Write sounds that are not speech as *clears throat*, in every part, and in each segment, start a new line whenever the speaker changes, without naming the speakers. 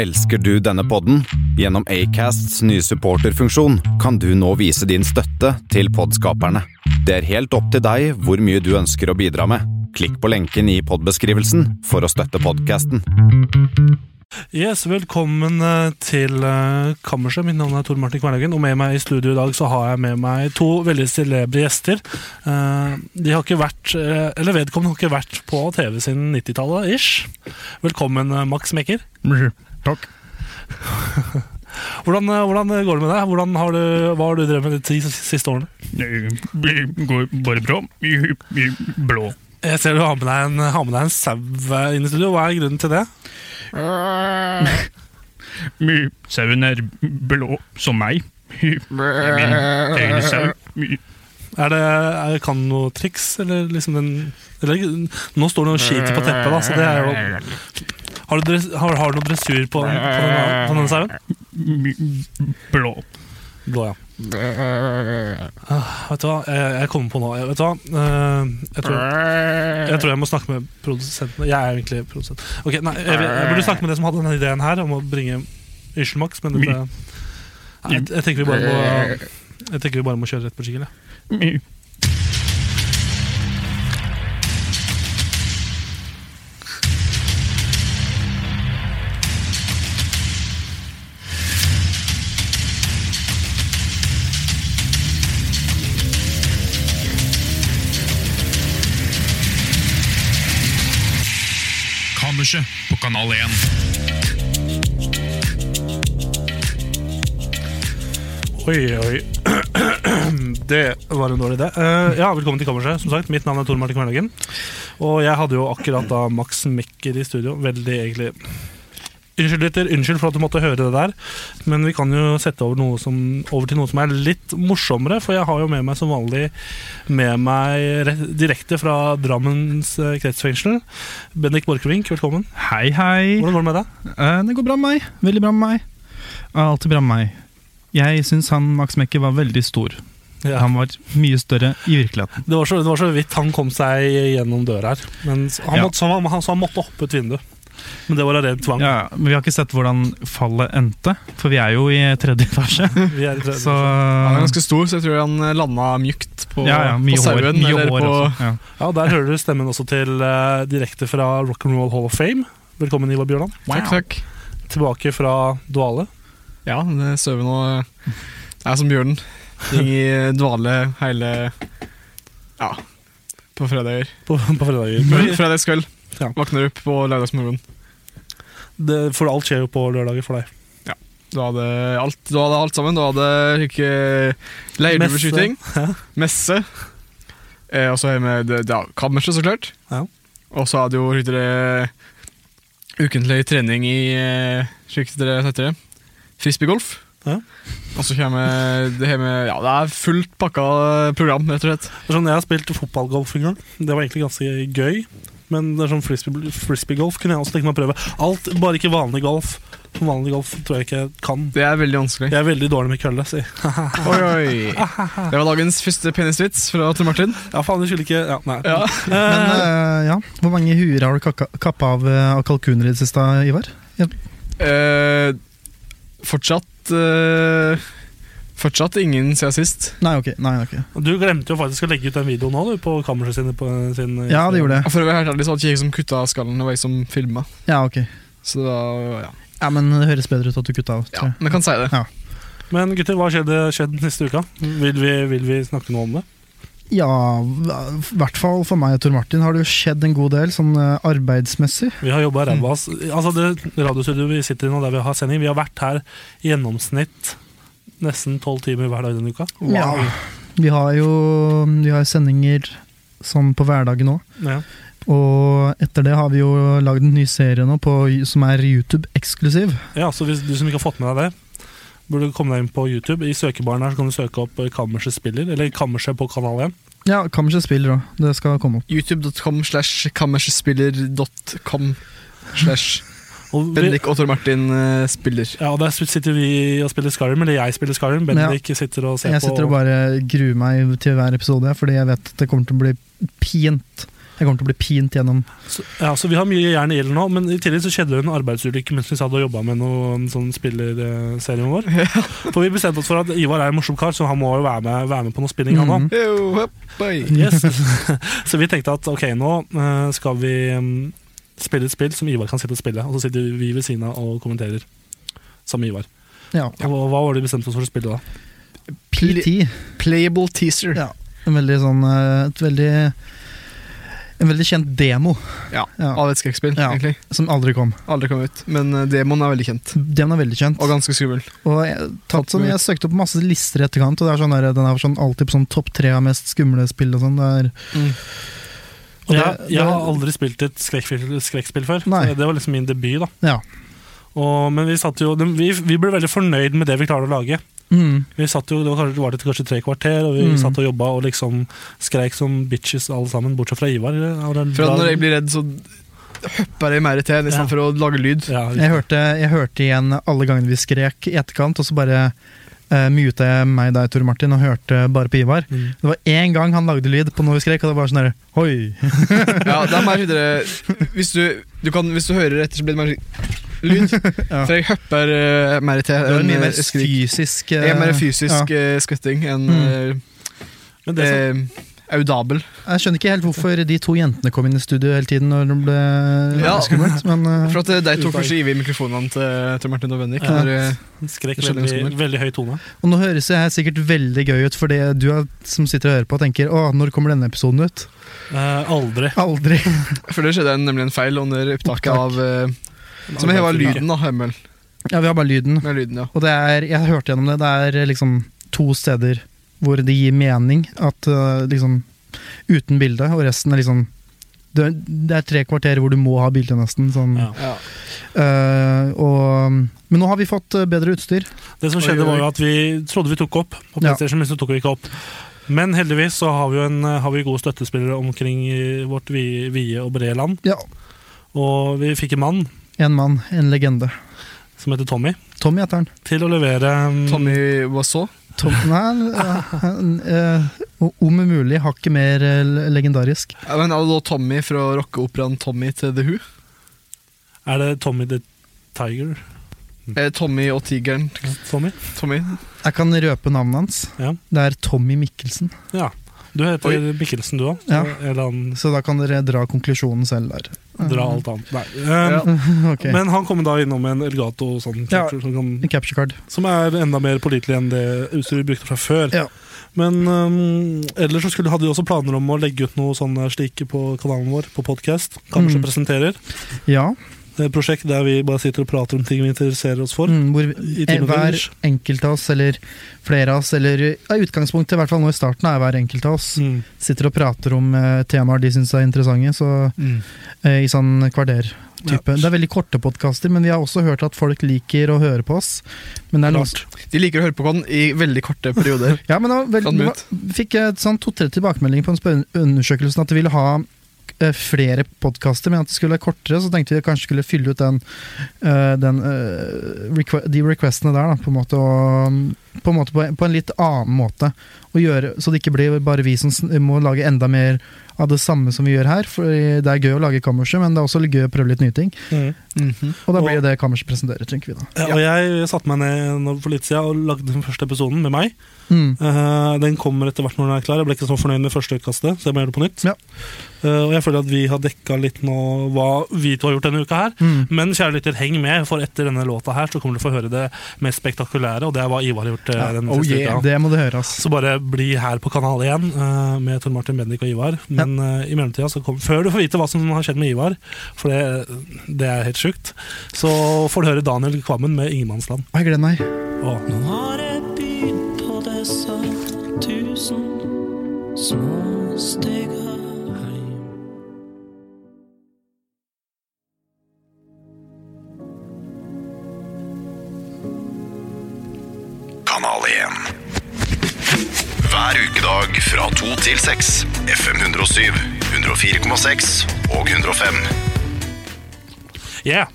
Elsker du denne podden? Gjennom Acasts nye supporterfunksjon kan du nå vise din støtte til podskaperne. Det er helt opp til deg hvor mye du ønsker å bidra med. Klikk på lenken i podbeskrivelsen for å støtte podkasten.
Yes, velkommen eh, til eh, Kammerset. Mitt navn er Tor Martin Kvernhagen, og med meg i studio i dag så har jeg med meg to veldig celebre gjester. Eh, De har ikke vært, eh, eller vedkommende har ikke vært på TV siden 90-tallet, ish. Velkommen, eh, Max Mekker.
Takk.
Hvordan, eh, hvordan går det med deg? Hvordan har du, hva har du drevet med de ti siste årene?
Det går bare bra. I- i Blå.
Jeg ser du har med deg en, har med deg en sau eh, inn i studio. Hva er grunnen til det?
I- Sauen er blå som meg. I Min egen sau. I-
Er det, er, kan noe triks, eller liksom den eller, Nå står det noe skit på teppet, da, så det er jo Har du, dress, har, har du noe dressur på, på den- på den sauen?
i Blå.
Blå, ja. Ah, vet du hva, jeg, jeg kommer på nå. Jeg, vet du hva? Eh, jeg, tror, jeg tror jeg må snakke med produsenten. Jeg er egentlig produsent. Ok, nei, jeg, jeg burde snakke med det som hadde denne ideen her, om å bringe Yrselmax, men dette nei, jeg, jeg tenker vi bare må Jeg tenker vi bare må kjøre rett på skikkelig.
I-
Kammerset på Kanal 1.
Oi, oi. *clears throat* Det var en dårlig idé. Eh, ja, Velkommen til Kammerset. som sagt. Mitt navn er Tor Martin Kvernhagen. Og jeg hadde jo akkurat da Max Mekker i studio. Veldig egentlig Unnskyld, lytter. Unnskyld for at du måtte høre det der. Men vi kan jo sette over, noe som, over til noe som er litt morsommere. For jeg har jo med meg som vanlig med meg re- direkte fra Drammens eh, kretsfengsel. Bendik Borchgrevink, velkommen.
Hei, hei.
Hvordan går det med deg?
Eh, det går bra med meg. Veldig bra med meg. Ja, Alltid bra med meg. Jeg syns han Max Mekker var veldig stor.
Ja.
Han var mye større i virkeligheten.
Det var, så, det var så vidt han kom seg gjennom døra her. Men s- han,
Ja.
måtte, så, han, han, så han måtte hoppe ut vinduet. Men det var av ren tvang.
Ja, men vi har ikke sett hvordan fallet endte, for vi er jo i tredje etasje.
Vi er i tredje
Så
etasje.
Han er ganske stor, så jeg tror han landa mjukt på,
Mm. ja, ja, mye
på
hår,
sauen.
mye
eller
hår
på,
også. Ja.
ja, Der hører du stemmen også til eh, direkte fra Rock'n'Roll Hall of Fame. Velkommen, Ivar Bjørland.
Takk, takk.
Tilbake fra duale.
Ja, det sauen og Jeg eh, er som bjørnen. Gikk i dvale hele Ja, på fredager.
På, på fredager.
Mm.
Men vi-
Fredagskveld.
Ja.
Våkner opp på lørdagsmorgen.
Det, for alt skjer jo på lørdager for deg.
Du hadde alt, du hadde alt sammen. Du hadde ikke leirduveskyting, messe, eh, og så har jeg med det- ja, kammerset, så klart.
Ja.
Og så hadde jo dere ukentlig trening i eh, slik dere heter det, frisbeegolf.
Ja.
Og så kommer det her med Ja, det er fullt pakka program, rett og slett.
Det er Sånn, jeg har spilt fotballgolf en gang. Det var egentlig ganske gøy. Men det er sånn frisbee- frisbeegolf kunne jeg også tenke meg å prøve. Alt, Bare ikke vanlig golf. Vanlig golf tror jeg ikke jeg kan.
Det er veldig vanskelig.
Jeg er veldig dårlig med kølle, si.
Oi, oi. Det var dagens første penisvits fra Tor Martin.
Ja, faen, jeg skulle ikke Ja, nei.
Ja.
Men
Eh,
eh, ja, hvor mange huer har du kakka- kappa av eh, av kalkuner i det siste, Ivar?
Eh, fortsatt eh, Fortsatt ingen siden sist.
Nei, ok. Nei, ok.
Du glemte jo faktisk å legge ut den videoen nå, du, på kammerset sine på sin
Ja, det gjorde det.
For å være helt ærlig så var det ikke jeg som kutta skallen, det var jeg som filma.
Ja, ok.
Så det var, ja.
Ja, Men det høres bedre ut at du kutta av.
ja,
tror jeg.
men jeg kan si det.
Men gutter, hva skjedde skjedd neste uka? Vil vi, vil vi snakke noe om det?
Ja, i hvert fall for meg og Tor Martin har det jo skjedd en god del, sånn eh, arbeidsmessig.
Vi har jobba ræva oss.
Mm.
Altså, det radiostudioet vi sitter i nå, der vi har sending, vi har vært her i gjennomsnitt nesten tolv timer hver dag denne uka.
Ja. Vi har jo vi har sendinger sånn på hverdagen òg.
Ja.
Og etter det har vi jo lagd en ny serie nå på, som er YouTube eksklusiv.
ja, så hvis du som ikke har fått med deg det, burde komme deg inn på YouTube. I søkebaren her så kan du søke opp eh, Kammerset spiller, eller Kammerset på kanal 1.
Ja, Kammerset spiller òg. Det skal komme opp.
YouTube.com slash kammersspiller.com slash
Og vi,
Bendik og Tor Martin eh, spiller.
ja, der sitter vi og spiller Skyrim, eller jeg spiller Skyrim, Bendik sitter og ser
Jeg
på
sitter og bare gruer meg til hver episode, fordi jeg vet at det kommer til å bli pint.
Jeg kommer til å bli pint gjennom
Så, ja, så vi har mye jern i ilden nå, men i tillegg så skjedde det en arbeidsulykke mens vi satt og jobba med noen sånn spillerserien vår. For vi bestemte oss for at Ivar er en morsom kar, så han må jo være med, være med på noe spilling,
Mhm.
han òg.
Yo, hopp, oi.
Yes. *laughs* så vi tenkte at ok, nå eh, skal vi mm, spille et spill som Ivar kan sitte og spille, og så sitter vi ved siden av og kommenterer. Sammen med Ivar.
ja,
Og hva var det vi bestemte oss for å spille da?
PT.
Playable teaser.
Ja. En veldig sånn eh, Et veldig En veldig kjent demo
Ja,
Ja.
Av et skrekkspill,
Ja.
egentlig.
som aldri kom.
Aldri kom ut. Men eh, demoen er veldig kjent.
Den er veldig kjent.
Og ganske skummel.
Og jeg, tatt som, jeg søkte opp masse lister i etterkant, og det er sånn der, den er sånn alltid på sånn topp tre av mest skumle spill og sånn. Det er
Mm.
Og
Jeg,
det-
jeg har
det-
aldri spilt et skrekkfil- skrekkspill før.
Nei.
så Det var liksom min debut, da.
Ja.
Og, men vi, satt jo, dem- vi, vi ble veldig fornøyd med det vi klarte å lage.
Mm.
Vi satt jo, det var kanskje, var det kanskje tre kvarter, og vi
Mm.
satt og jobba og liksom skreik som bitches alle sammen, bortsett fra Ivar. og den-
For at når jeg blir redd, så hopper jeg mer til
Ja.
istedenfor for å lage lyd.
ja, vi-
Jeg, hørte, jeg hørte igjen alle gangene vi skrek i etterkant, og så bare uh, muta jeg meg deg, Tore Martin, og hørte bare på Ivar.
Mm.
Det var én gang han lagde lyd på når vi skrek, og det var sånn der Hoi!
Ja, det er mer videre Hvis du, du, kan, hvis du hører etter, så blir det mer sånn lyd.
*laughs* Ja.
For jeg hopper eh, mer til
Det var
enn
mye mer
eh, skrik.
fysisk
Jeg er mer
eh,
fysisk
ja.
eh, skvetting enn
Mm.
Men
eh,
det som,
eh, audabel.
Jeg skjønner ikke helt hvorfor de to jentene kom inn i studio hele tiden når det ble
Ja.
skummelt, men eh,
For at eh, de to først gir vi mikrofonene til, til Martin og Bendik.
Ja.
når, eh,
skrekk
det skjedde med
veldig,
skolen.
veldig høy tone.
Og nå høres jeg sikkert veldig gøy ut, for det du er- som sitter og hører på, tenker 'Å, når kommer denne episoden ut?'
Eh, aldri.
Aldri.
For det skjedde en, nemlig en feil under opptaket
Opptak.
av eh, Som heva lyden, da. Hemmel.
Ja, vi har bare lyden.
Med lyden, ja.
Og det er, jeg hørte gjennom det, det er liksom to steder hvor det gir mening at eh, liksom Uten bilde, og resten er liksom det er, det er tre kvarter hvor du må ha bilde, nesten. Sånn.
Ja.
ja.
Eh, og, men nå har vi fått eh, bedre utstyr.
Det som skjedde,
Oi, oi.
var jo at vi trodde vi tok opp på
Ja.
PlayStation, men så tok vi ikke opp. Men heldigvis så har vi, jo en, eh, har vi gode støttespillere omkring i vårt vi- vide og brede land.
Ja,
Og vi fikk en mann
En mann, en legende.
som heter Tommy,
Tommy heter han.
til å levere mm,
Tommy Wiseau.
Tom, *laughs* nei, eh, eh, om mulig hakket mer eh, legendarisk.
Ja, men er det da Tommy fra rockeoperaen Tommy til The Who?
Er det Tommy the Tiger?
Eh, Tommy og tigeren
Tommy?
Tommy.
Jeg kan røpe navnet hans.
Ja.
Det er Tommy Mikkelsen.
Ja. Du heter Mikkelsen, du òg.
Ja.
Eller han
Så da kan dere dra konklusjonen selv der. *laughs*
drar alt annet. Nei. Um,
Ja.
Ok.
Men han kom da innom en Elgato sånn,
Ja.
som, kan,
Capture card.
som er enda mer pålitelig enn det utstyret vi brukte fra før.
Ja.
Men um, ellers så skulle, hadde vi også planer om å legge ut noe sånne slike på kanalen vår, på podkast. Kanskje
Mm.
presenterer.
Ja.
Et prosjekt der vi bare sitter og prater om ting vi interesserer oss for.
Mm, hvor
I
vi- eh,
timen
hver
ellers.
enkelt av oss, eller flere av oss, eller ja, i utgangspunktet, i hvert fall nå i starten, er hver enkelt av oss
Mm.
sitter og prater om eh, temaer de syns er interessante, så eh, i sånn kvarter-type.
Mm. Ja.
Det er veldig korte podkaster, men vi har også hørt at folk liker å høre på oss. Men det er noen,
Klart.
De liker å høre på oss i veldig korte perioder.
Ja, men det var
Kan
Sånn
veldig,
du
det var, fikk jeg et sånn to-tre tilbakemeldinger på en spør- undersøkelsen at de ville ha eh, flere podkaster, men at det skulle være kortere. Så tenkte vi kanskje skulle fylle ut den, eh, den, eh, requ- de requestene der, da, på en måte. Og, på en måte på, en- på en litt annen måte. Og gjøre, så det ikke blir bare vi som sn- må lage enda mer av det samme som vi gjør her. For det er gøy å lage kammerset, men det er også litt gøy å prøve litt nye ting.
Mm.
Mhm.
Og da
Og-
blir det det kammerset presenterer, tenker vi da.
Ja, og jeg satte meg ned nå for litt siden og lagde den første episoden med meg.
Mm.
Eh, den kommer etter hvert når den er klar. Jeg ble ikke så fornøyd med første utkastet, så jeg må gjøre det på nytt.
Ja.
Eh, og jeg føler at vi har dekka litt nå hva vi to har gjort denne uka her.
Mm.
Men kjære lytter, heng med, for etter denne låta her så kommer du få høre det mest spektakulære, og det er hva Ivar har gjort eh,
Ja,
den
oh
siste
yeah,
uka.
det må du høre, ass.
Så bare bli her på Kanal 1 eh, med Tor Martin Bendik og Ivar. Men eh, i mellomtida, så kom, før du får vite hva som har skjedd med Ivar, for det, det er helt sjukt, så får du høre Daniel Kvammen med 'Ingenmannsland'.
Jeg gleder meg.
Åh.
Nå har jeg bydd på disse tusen små stygge heim.
Kanal 1. Hver ukedag fra 2 til 6. FM 107, 104,6 og 105.
Yeah.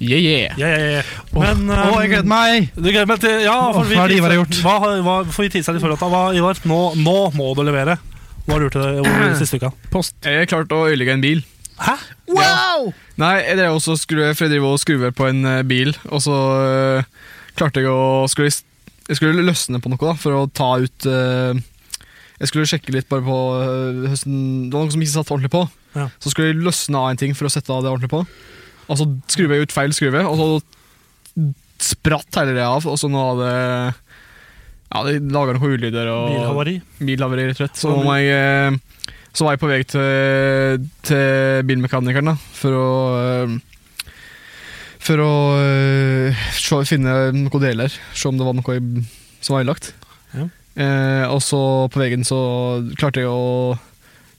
Yeah, yeah.
Yeah, yeah, yeah. Men um,
Å, jeg gleder meg!
Du gleder meg til Ja, for vi
Hva har Ivar gjort?
Hva, har- hva, får vi tisa litt forut av hva, Ivar? Nå, nå må du levere. Hva har du gjort det, over siste uka?
Jeg klarte å ødelegge en bil.
Hæ?
Wow!
Nei, jeg drev også skru, for jeg driver og skruer på en eh, bil, og så eh, klarte jeg å skulle, Jeg skulle løsne på noe, da, for å ta ut eh, Jeg skulle sjekke litt bare på eh, høsten Det var noe som ikke satt ordentlig på.
Ja.
Så skulle jeg løsne av en ting for å sette av det ordentlig på, og så skrur jeg ut feil skrue, og så spratt hele det av, og så nå har det Ja, det laga noen ulyder og
Bilhavari?
bilhavari, rett og slett. Så, må jeg, eh, så var jeg på vei til, til bilmekanikeren da, for å eh, For å eh, se, finne noen deler, se om det var noe i- som var ødelagt.
Ja.
Eh, og så på veien så klarte jeg å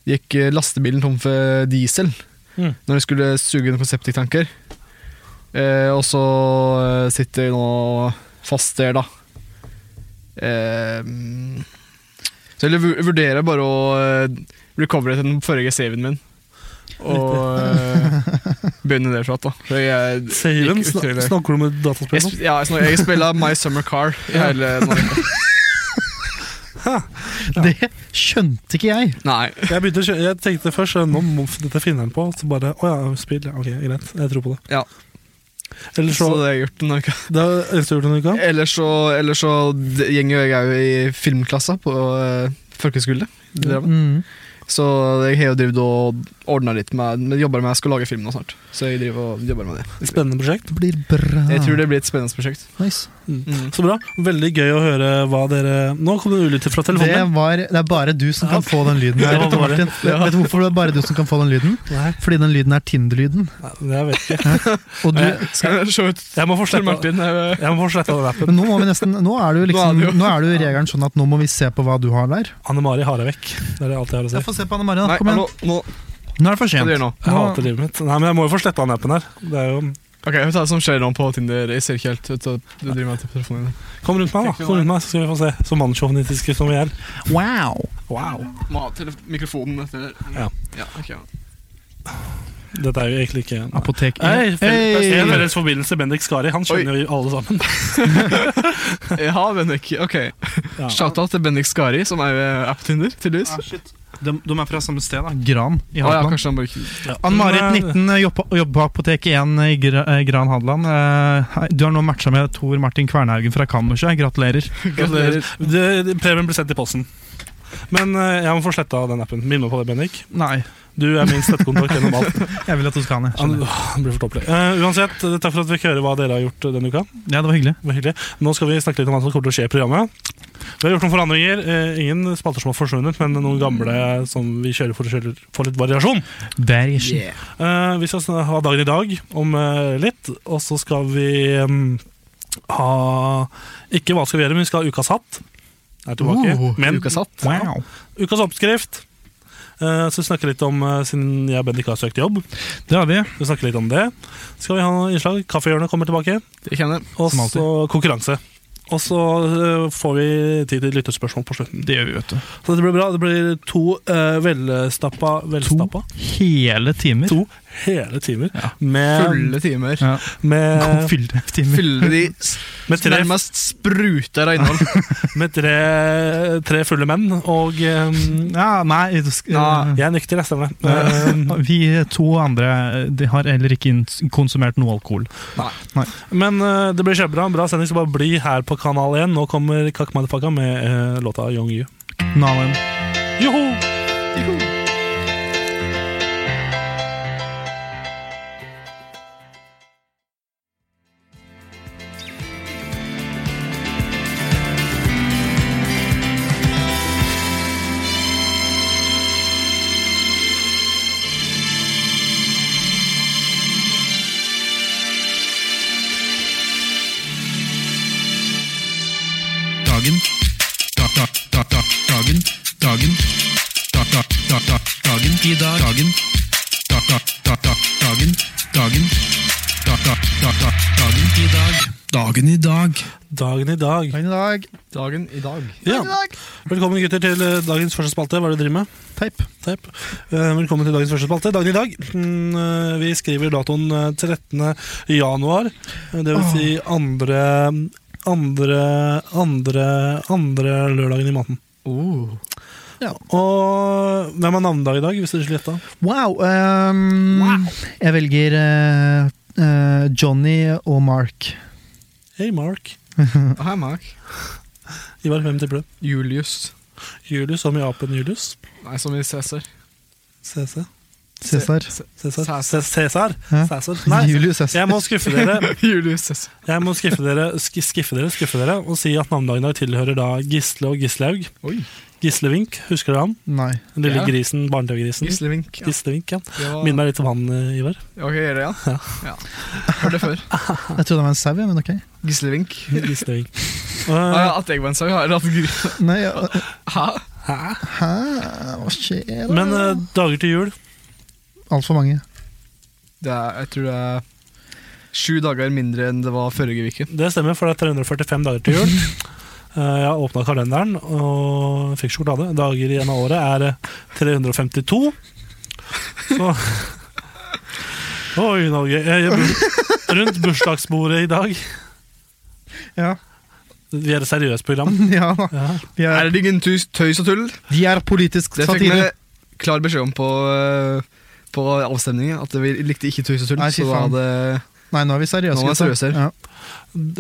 Gikk eh, lastebilen tom for diesel
Mm.
når jeg skulle suge noen septiktanker. Eh, og så eh, sitter jeg nå fast der, da. Eh, så jeg vu- vurderer bare å eh, recovere til den forrige saven min. Og eh, begynne der fra da. For jeg,
Saven?
gikk ut i
Sn-
det.
Snakker du med
jeg,
dataspill nå?
sp- ja, jeg, snak- jeg spiller My Summer Car i hele
*laughs*
Norge.
Det skjønte ikke jeg.
Nei.
Jeg, begynte å kjø- jeg tenkte først eh, nå må f- dette finner han på, så bare Å ja, spill. ja, Ok, greit. Jeg tror på det.
Ja.
Ellers så,
Så det har jeg gjort denne uka.
det er det eneste du har gjort denne uka?
Ellers så, ellers så d- gjenger jeg òg i filmklassa på uh, folkehøgskole. Drammen.
Mm.
Så jeg har jo drevet og ordna litt med, med jobber med Jeg skal lage film nå snart. Så jeg driver og jobber med det.
Spennende prosjekt.
Det blir bra.
Jeg tror det blir et spennende prosjekt.
nice.
Mm.
Så bra. Veldig gøy å høre hva dere Nå kom det en ulytter fra
det,
telefonen.
var, det er bare du som kan få den
*laughs*
lyden.
Det
Her,
var
vet, du,
bare-
Martin. vet du hvorfor det er bare du som kan få den lyden?
Nei,
Fordi den lyden er Tinder-lyden.
nei, det vet jeg ikke.
Og du,
Jeg-
*laughs* Skal jeg se ut
Jeg må få
til
sletta
Martin? eh,
jeg må få sletta den appen.
men nå, må vi nesten, nå er det jo
Nå er
liksom,
det jo-
nå er det jo regelen sånn at nå må vi se på hva du har der.
Anne Mari har jeg vekk. Det er det alt jeg har å si.
Jeg får se på Anne Marie, da.
Nei,
Ah, Kom igjen.
nå, nå
Nå er det for
Hva du
sent.
gjør nå?
Jeg hater livet mitt. Nei, men jeg må jo få sletta den appen her. Det er jo
Ok, Hva er det som skjer nå på Tinder? Jeg ser ikke helt ut. og Du driver med telefonen din.
Kom rundt meg, da. Kom rundt meg, Så skal vi få se. Så mannssjåvinistiske som vi er.
Wow!
Wow.
Må ha tele- mikrofonen etter
Ja.
ja ok, ja.
Dette er jo egentlig ikke
Apotek
Hei, fel-
Hey.
En felles forbindelse, Bendik Skari. Han skjønner jo alle sammen.
ja, Bendik. Ok.
Ja.
Shout-out til Bendik Skari, som er eh, er på Tinder, tydeligvis. Å
De, de er fra samme sted, da. Gran. i
ja,
Hadeland.
kanskje han bare ikke
Ann-Marit
Men,
19
eh,
jobber jobber på Apotek 1 i Gra- eh, Gran Hadeland. Eh, hei, Du har nå matcha med Tor Martin Kvernhaugen fra Kammerset. Gratulerer.
eh,
Gratulerer.
Det- det- Premien ble sendt i posten. Men eh, jeg må få sletta den appen. Minn meg på det, Bendik.
Nei,
Du er min støttekontakt gjennom alt.
jeg vil at du skal ha den.
Han,
jeg skjønner.
åh, han blir for tåpelig. Eh, uansett, takk for at vi fikk høre hva dere har gjort eh, denne uka.
Ja, det var hyggelig.
Det var hyggelig. Nå skal vi snakke litt om hva som kommer til å skje i programmet. Vi har gjort noen forandringer. Eh, ingen spalter som har forsvunnet, men noen gamle som vi kjører for å kjøre for litt variasjon.
Bergen.
Eh, vi skal sn- ha dagen i dag om eh, litt, og så skal vi mm, ha Ikke hva skal vi gjøre, men vi skal ha Ukas hatt. Er tilbake.
Oh,
men
ukas hatt.
Wow.
ukas oppskrift. Eh, så vi snakker litt om eh, Siden jeg og Bendik har søkt jobb,
Det har vi.
vi snakker litt om det. Så skal vi ha noen innslag. Kaffehjørnet kommer tilbake.
Det kjenner jeg.
Og
Som alltid.
så konkurranse. Og så eh, får vi tid til lyttespørsmål på slutten.
Det gjør vi, vet du.
Så dette blir bra. Det blir to eh, velstappa velstappa.
Hele timer.
To hele timer med,
Fulle timer.
Ja.
med
Fylle timer.
Fylle de s-
Med tre,
nærmest spruter av innhold.
med tre, tre fulle menn, og ehm,
Ja, nei, du sk- eh,
Ja.
jeg er nykter, jeg stemmer det. Ehm,
Vi to andre eh, de har heller ikke ins- konsumert noe alkohol.
men eh, det blir kjempebra. En Bra sending, så bare bli her på Kanal 1. Nå kommer Kakk Madafaka med eh, låta Young You.
Nalen.
Joho!
Dagen. Da, da, da, da, dagen. Dagen. Da, da, da, da, dagen. I dag. Dagen. Da, da, da, da, dagen. Dagen. Da, da, da, da, dagen. I dag. Dagen i dag.
Dagen i dag.
Dagen i dag.
Dagen i dag.
Ja. Velkommen gutter til eh, dagens første spalte. Hva er det du driver med?
Teip.
Teip. Eh, Velkommen til dagens første spalte. Dagen i dag. Mm, eh, Vi skriver datoen eh, 13. januar. Eh, Det vil si andre
Oh.
andre, andre, andre lørdagen i måneden.
Ja.
Og hvem har navnedag i dag, hvis dere skulle gjette?
Wow! ehm, Jeg velger eh, eh, Johnny og Mark.
Hei, Mark.
Hei, Ah, Mark.
Ivar, hvem tipper du?
Julius.
Julius som i apen Julius.
Nei, som i Cæsar.
CC.
Cæsar.
Cæsar.
Cæsar.
Cæsar.
Hæ?
Cæsar. Nei,
Julius Cæsar.
jeg må skuffe dere.
Julius Cæsar.
Jeg må skuffe dere, sk- skuffe dere, skuffe dere og si at navnedagen i dag tilhører da Gisle og Gislaug.
Oi.
Gislevink, husker dere han?
Nei.
Den lille
Ja.
grisen, barne-TV-grisen.
Gislevink. Ja.
Gislevink, ja.
Det var-
Minner meg litt om han, eh, Ivar.
Ok, gjør det, ja? ja. Hørte det før.
Jeg trodde det var en sau, ja, men ok.
Gislevink. *laughs*
Gislevink.
Ah,
Eh,
ja, at jeg var en sau, har jeg hatt gr-
Nei, ja, eh,
Hæ?
hæ? Hva skjer? da?
men eh, dager til jul.
Altfor mange.
Det er, jeg tror det er sju dager mindre enn det var forrige uke.
Det stemmer, for det er 345 dager til jul. Eh, Jeg har åpna kalenderen og fikk sjokolade. Dager igjen av året er eh, 352. Så *laughs* Oi, Norge. Jeg gjør burs- Rundt bursdagsbordet i dag.
Ja.
Vi er et seriøst program.
*laughs* ja da.
Ja.
De
Er
er,
det ingen tøys, tøys og tull?
de er politisk
Det fikk vi
satire.
klar beskjed om på, eh, på avstemningen, at vi likte ikke tøys og tull.
Nei, fy
så da
faen.
hadde
Nei, nå er vi seriøse.
Nå er vi
gutta.
seriøse.
Ja.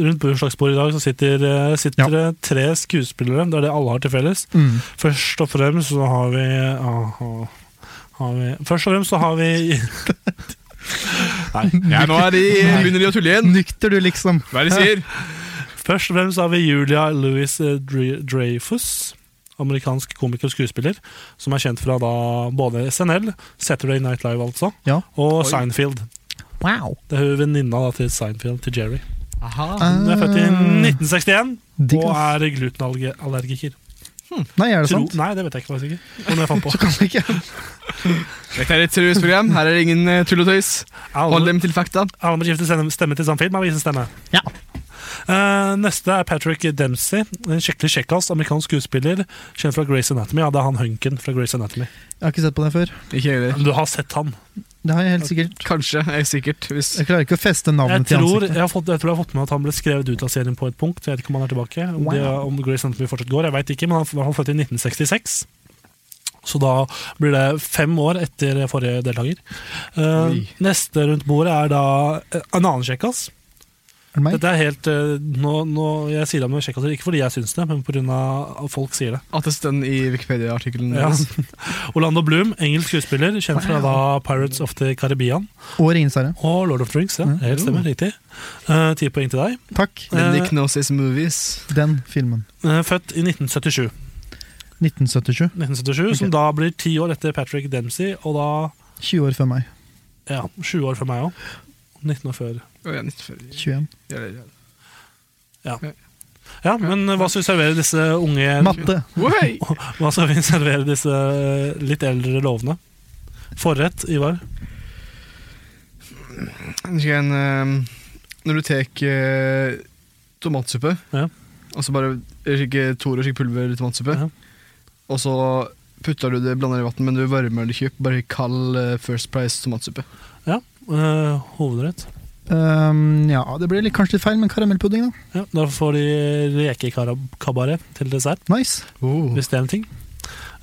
Rundt bursdagsbordet i dag så sitter, eh, sitter det tre skuespillere. Det er det alle har til felles.
Mm.
Først og fremst så har vi, aha, har vi Først og fremst så har vi *laughs*
ja, Nå er de,
*laughs* Nei.
begynner de å tulle igjen!
Nykter du, liksom.
Hva er det de sier?
Først og fremst har vi Julia Louis eh, Dreyfus, amerikansk komiker og skuespiller, som er kjent fra da både SNL, Saturday Night Live altså,
Ja.
og Seinfeld.
Wow.
Det er hun venninna da til Seinfeld, til Jerry.
Aha.
Hun er født i
Ah,
1961
digg,
og
ass.
er glutenallergiker.
Eh, Nei, er det
Tro,
sant?
nei, det vet jeg ikke faktisk ikke. Hvordan jeg fant
*laughs*
på.
Kan ikke.
Dette er et seriøst program. Her er det ingen eh, tull og tøys. Hold
Alle,
dem til fakta.
alle må skifte stemme- stemme til samme film, men vi viser stemme.
Ja.
Eh, neste er Patrick Dempsey, en skikkelig kjekkas amerikansk skuespiller, kjent fra Grey's Anatomy. Ja, det er han hunken fra Grey's Anatomy.
Jeg har ikke sett på det før.
Ikke jeg heller.
Men du har sett han.
Det har jeg helt sikkert.
Kanskje. Jeg er sikkert. Hvis
Jeg klarer ikke å feste
Jeg
navnet til
tror jeg,
ansiktet.
har fått, jeg tror jeg har fått med at han ble skrevet ut av serien på et punkt. Jeg vet ikke om han er tilbake. Om, det,
Wow.
om Grace Anatomy fortsatt går, jeg vet ikke, men han var født i 1966. Så da blir det fem år etter forrige deltaker. Eh,
Oi.
neste rundt bordet er da eh, en annen kjekkas.
Er det meg?
Dette er helt, eh, nå, nå, jeg sier det med kjekkaser, ikke fordi jeg syns det, men pga. at folk sier det.
At det står i Wikipedia-artikkelen
Ja.
deres.
Orlando Bloom, engelsk skuespiller, kjent fra da Pirates of the Caribbean
Og Ringenes herre.
og Lord of the Rings. Ja,
Mm.
helt stemmer, riktig. Eh, Ti poeng til deg.
Takk.
Bendik knows his movies.
Den filmen.
Eh, Født i 1977.
1977.
1977, som
Ok.
da blir ti år etter Patrick Dempsey, og da
20 år før meg.
ja, 20 år før meg òg. 19 år før.
Å, ja, 1940.
21.
Ja, ja, ja.
Ja, men hva skal vi servere disse unge
Matte.
Oi!
Hva skal vi *laughs* servere disse eh, litt eldre lovene? Forrett, Ivar.
Kanskje en eh, Når du tar eh, tomatsuppe,
Ja.
og så bare skikke Toro skikke pulver i tomatsuppe,
Ja.
og så putter du det blander i vann, men du varmer det ikke opp. Bare kald eh, First Price tomatsuppe.
Eh, hovedrett.
Um, ja, det ble litt, kanskje litt feil, men karamellpudding, da.
Ja, da får de rekekabaret til dessert,
Nice.
hvis det er en ting.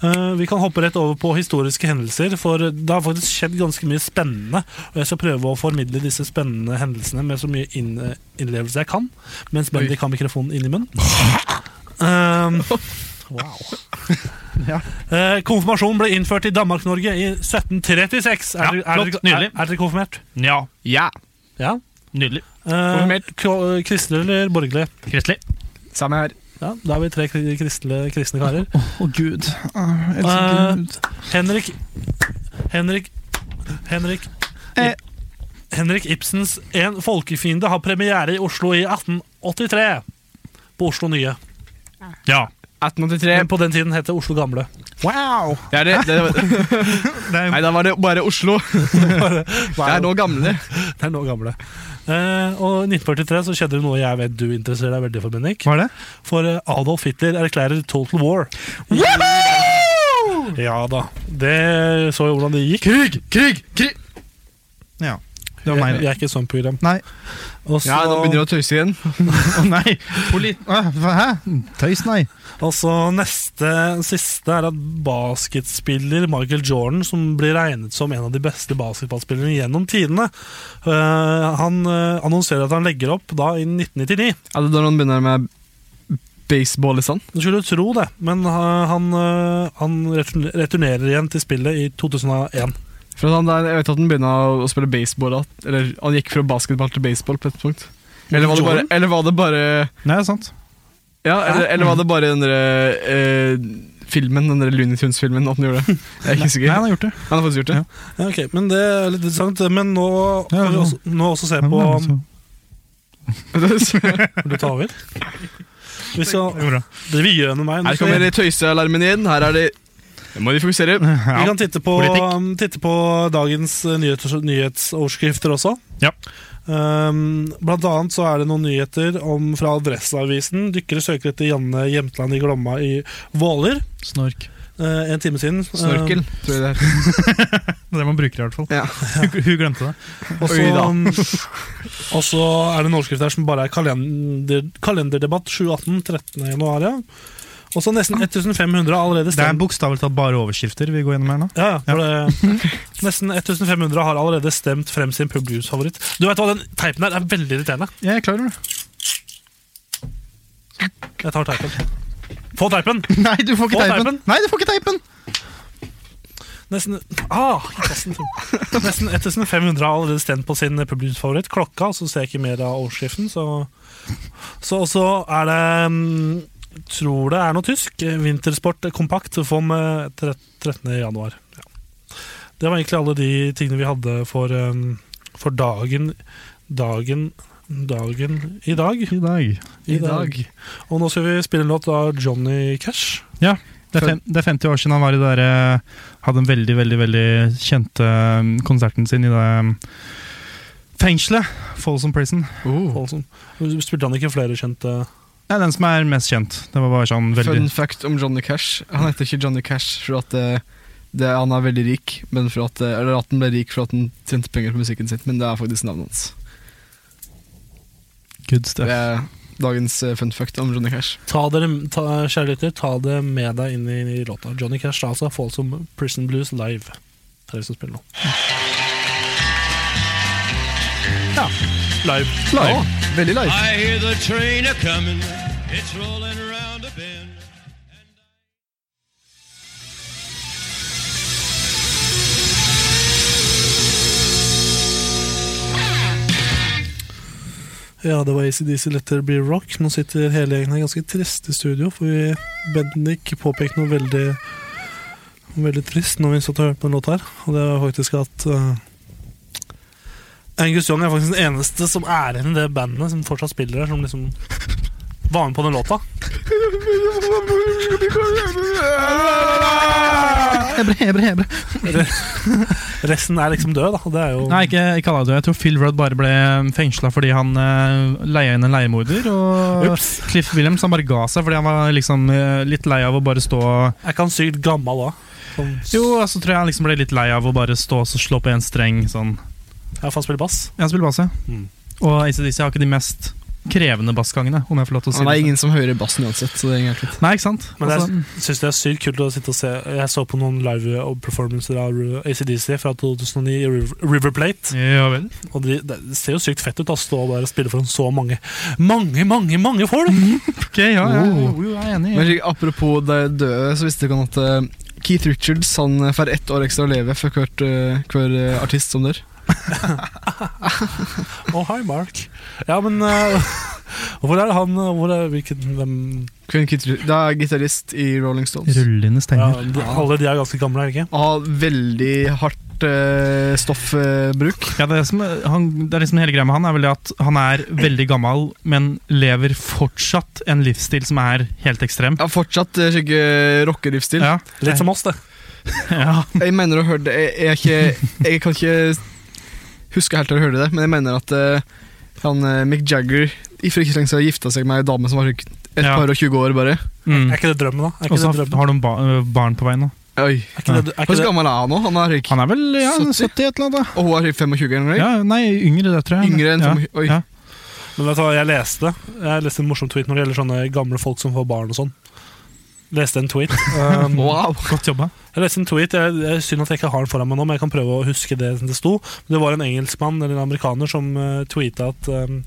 Eh, vi kan hoppe rett over på historiske hendelser, for det har faktisk skjedd ganske mye spennende. Og jeg skal prøve å formidle disse spennende hendelsene med så mye inn, innlevelse jeg kan, mens Bendik har mikrofonen inn i munnen.
*laughs*
Um, *laughs* wow.
Ja.
Eh, konfirmasjon ble innført i Danmark-Norge i 1736. Er,
Ja,
dere- er,
flott,
dere- er,
nydelig.
er dere konfirmert?
Ja,
Ja!
Ja.
nydelig.
Uh, kristelig eller borgerlig?
Kristelig.
Samme her.
Ja, da er vi tre kri- kristne, kristne karer.
Å, gud. Ah, jeg elsker
Eh,
Gud.
Henrik Henrik Henrik
Eh.
Henrik Ibsens En folkefiende har premiere i Oslo i 1883. På Oslo Nye.
Ja.
1883.
Men på den tiden het det Oslo Gamle.
Wow!
Det er det, det, Nei, da var *laughs* det bare *laughs* Oslo. Det er nå gamle.
Det er nå gamle. Eh, og i 1943 så skjedde det noe jeg vet du interesserer deg veldig for, Bendik.
Hva er det?
For eh, Adolf Hitler erklærer total war. Ja da. Det så jo hvordan det gikk.
Krig! Krig! krig.
Ja. Det var
Jeg,
meg.
jeg er ikke et sånt program.
Nei.
Og så,
Ja, nå begynner du å tøyse igjen.
Å, nei. Poli- Åh, hva- Hæ? Tøys, nei.
og så Altså, neste siste er at basketspiller Michael Jordan, som blir regnet som en av de beste basketballspillerne gjennom tidene, øh, han øh, annonserer at han legger opp da i 1999.
Er det da noen begynner med baseball i sand?
Du skulle jo tro det, men øh, han, øh, han return- returnerer igjen til spillet i 2001.
For at han der, jeg vet at han begynte å spille baseball at- Eller han gikk fra basketball til baseball på et punkt. Eller var det bare,
Jordan?
eller var det bare
Nei, det er sant.
Ja, eller, eller var det bare den der eh, filmen, den der Looney Tunes-filmen, at han gjorde det? Jeg er ikke
Nei,
sikker.
han har gjort det.
Han har faktisk *laughs* gjort det.
Ja, ok, men det er litt interessant. Men nå kan vi også, nå også se på
altså.
Her
Vil du ta
*laughs*
over? Vi skal
går bra.
drive gjennom meg. Nå skal
kommer
vi,
tøysealarmen inn. Her er det Nå må de fokusere.
vi kan titte på, um,
Politikk.
titte på dagens eh, nyheters, nyhetsoverskrifter også.
Ja.
Um, blant annet så er det noen nyheter om fra Adresseavisen. Dykkere søker etter Janne Jemtland i Glomma i Våler.
Snork.
eh, en time siden. Um,
Snorkel, tror jeg det er.
Det er det man bruker i hvert fall.
Ja.
Hun, hun glemte det.
Eh, og
Oi
så *laughs*
da.
um, og så er det en overskrift her som bare er kalender, kalenderdebatt 7.18. 13. januar. Ja. Og så nesten 1500 har allerede
Det er
stemt.
bokstavelig talt bare overskrifter vi går gjennom her nå.
Ja, ja. for Det, *laughs* nesten 1500 har allerede stemt frem sin publikumsfavoritt. Du vet hva, Den teipen der er veldig irriterende.
Jeg er klar over det.
Jeg tar teipen. Få teipen!
*laughs* Nei, du får ikke
Få
teipen!
teipen.
Nei, du får ikke teipen!
Nesten, ah, i kassen. nesten 1500 har allerede stemt på sin publikumsfavoritt, Klokka. Så ser jeg ikke mer av overskriften. Så Så også er det mm, Tror det er noe tysk. Vintersport kompakt kom eh, tre- 13. januar. Ja. Det var egentlig alle de tingene vi hadde for, eh, for dagen Dagen Dagen i dag.
I dag.
I dag. Og nå skal vi spille en låt av Johnny Cash.
Det er, fem, det er 50 år siden han var i det der, eh, hadde den veldig veldig, veldig kjente eh, konserten sin i det eh, fengselet. Folsom Prison. Mm.
Oh.
Olsen. Spilte han ikke flere kjente
Det er den som er mest kjent. Det var bare sånn veldig...
Fun fact om Johnny Cash. Han heter ikke Johnny Cash for at eh, det, han er veldig rik, men for at, eh, eller at han ble rik for at han tjente penger på musikken sin. Men det er faktisk navnet hans.
Good
Det
stuff.
er dagens eh, fun fact om Johnny Cash.
Ta dere, ta, kjære lytter, ta det med deg inn i, i låta. Johnny Cash, da, altså. Folsom Prison Blues live. Det er det som spiller nå. Ja. Live.
Live. Veldig live.
I hear the train a coming, it's rolling around a bend.
Ja, det var ACDC Let There Be Rock. Nå sitter hele gjengen her ganske trist i studio, for vi Bendik påpekte noe veldig Veldig trist når vi satt og hørte på en låt her, og det var faktisk at eh, Angus Young er faktisk den eneste som er igjen i det bandet som fortsatt spiller her, som liksom var med på den låta.
Hebre, hebre, hebre.
Resten er liksom død, da. og Det er jo
Nei, ikke, ikke alle. Jeg tror Phil Rudd bare ble fengsla fordi han uh, leia inn en leiemorder. Og
Ups.
Cliff Williams han bare ga seg fordi han var liksom eh, litt lei av å bare stå
Er ikke han sykt gammel da? Sånn,
Jo, så altså, tror jeg han liksom ble litt lei av å bare stå og slå på en streng sånn.
Ja, for han spiller bass.
Jeg spiller bass, ja.
Mm.
Og ACDC har ikke de mest krevende bassgangene, om jeg får lov til å si
Han
det.
er ingen som hører bassen uansett, så det er egentlig
Nei, ikke sant?
Men det er-
Altså,
Syns det er sykt kult å sitte og se. Jeg så på noen live performancer av ACDC fra 2009 i Riv- River Plate.
ja vel.
Og de, Det ser jo sykt fett ut å stå der og spille foran så mange mange, mange mange folk!
Ok, ja, ja,
Oh.
jo, jeg er enig.
Men slik, apropos de døde, så visste dere at eh, Keith Richards han eh, får ett år ekstra å leve for hvert, eh, hver eh, artist som dør.
Oh, hi, Mark. Ja, men eh, *laughs* Hvor er det han eh, hvor er, hvilken, hvem,
Hver Keith Richards, det er gitarist i Rolling Stones.
Rullende
ja,
steiner.
de, Alle de er ganske gamle, er de ikke?
Han har veldig hardt eh, stoffbruk.
Ja, det, er som, han, det er liksom hele greia med han er vel det at han er veldig gammel, men lever fortsatt en livsstil som er helt ekstrem.
ja, fortsatt uh, slik rockelivsstil.
Ja,
Litt som oss, det.
ja.
Jeg mener å høre det jeg, jeg, er ikke, jeg kan ikke huske helt til å høre det, men jeg mener at eh, han eh, Mick Jagger i for ikke så lenge siden gifta seg med ei dame som var slik et
Ja.
par og 20 år, bare.
Mm.
Er ikke det drømmen, da? Er
Og
ikke
så
det drømmen?
har de ba barn på vei nå.
Oi.
ikke det- er ikke
Hvor
det-
gammel er han nå? Han er ikke
Han er vel ja, 70 et eller annet.
Og hun er 25 eller noe?
Ja, nei, yngre det, tror jeg.
Yngre enn
ja.
25 Oi.
Ja.
Men vet du hva, jeg leste Jeg leste en morsom tweet når det gjelder sånne gamle folk som får barn og sånn. Leste en tweet. Um,
Wow.
*laughs* Godt jobba.
jeg leste en tweet, jeg, jeg Synd at jeg ikke har den foran meg nå, men jeg kan prøve å huske det som det sto. Det var en engelskmann eller en amerikaner som uh, tweeta at um,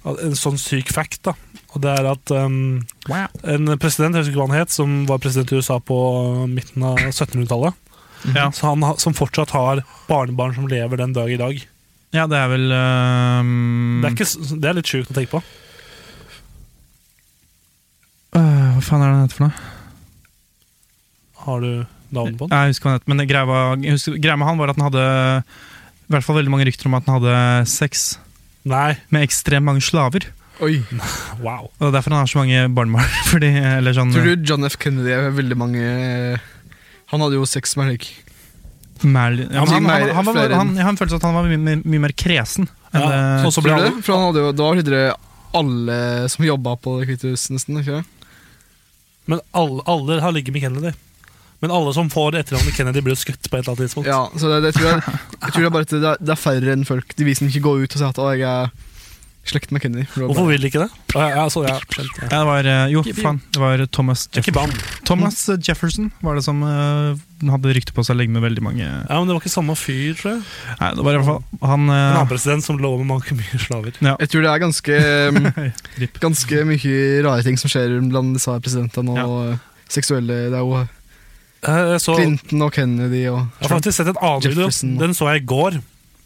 at en sånn syk fact, da. Og det er at um, en president jeg husker ikke hva han het, som var president i USA på eh, midten av 1700-tallet,
Ja.
Så han ha- som fortsatt har barnebarn som lever den dag i dag.
ja, det er vel
Det, er
Mm.
ehm,
ikke, s- det er litt sjukt å tenke på.
øh, Hva faen er det den heter for noe?
Har du navnet på den?
Jeg husker hva han het, men greia, var, jeg husker, greia med han var at han hadde i hvert fall veldig mange rykter om at han hadde sex
Nei.
med ekstremt mange slaver.
Oi.
Wow.
Og det er derfor han har så mange barnebarn. *laughs* Fordi, eller sånn,
Tror du John F. Kennedy er veldig mange eh, Han hadde jo sex med Henrik.
Merlin- ja, men han, han, han, var-
Flere enn-
han, jeg har en følelse av at han var mye, mye, mye mer kresen. enn
Ja,
eh,
sånn
det-
så, så ble alle,
eh, Tror du det? For han hadde jo, da var det alle som jobba på Det hvite huset, nesten. ikke det?
men alle, alle har ligget med Kennedy. Men alle som får etternavnet Kennedy, blir jo skutt på et eller annet tidspunkt.
Ja, så det, det tror jeg, jeg tror det er bare at det er, det er færre enn folk. De viser ikke gå ut og si at å, jeg er slekt med Kennedy. For det var
Hvorfor
bare-
vil de ikke det? Ja, ja, så, ja, skjønt, ja.
Ja, det var, eh, jo, faen. Det var Thomas,
Det er
E.
Jeff
ikke ban.
Thomas eh, Jefferson var det som eh, hadde rykte på seg å legge med veldig mange
Ja, men det var ikke samme fyr, tror jeg.
Nei, det var i hvert fall han eh,
En annen president som lå med mange mye slaver.
Jeg tror det er ganske um,
Rip.
Ganske mye rare ting som skjer blant disse presidentene. Og uh, seksuelle Det er jo
Eh, Jeg, så, jeg
Clinton og Kennedy og
har faktisk sett en annen video.
Jefferson.
Den så jeg i går.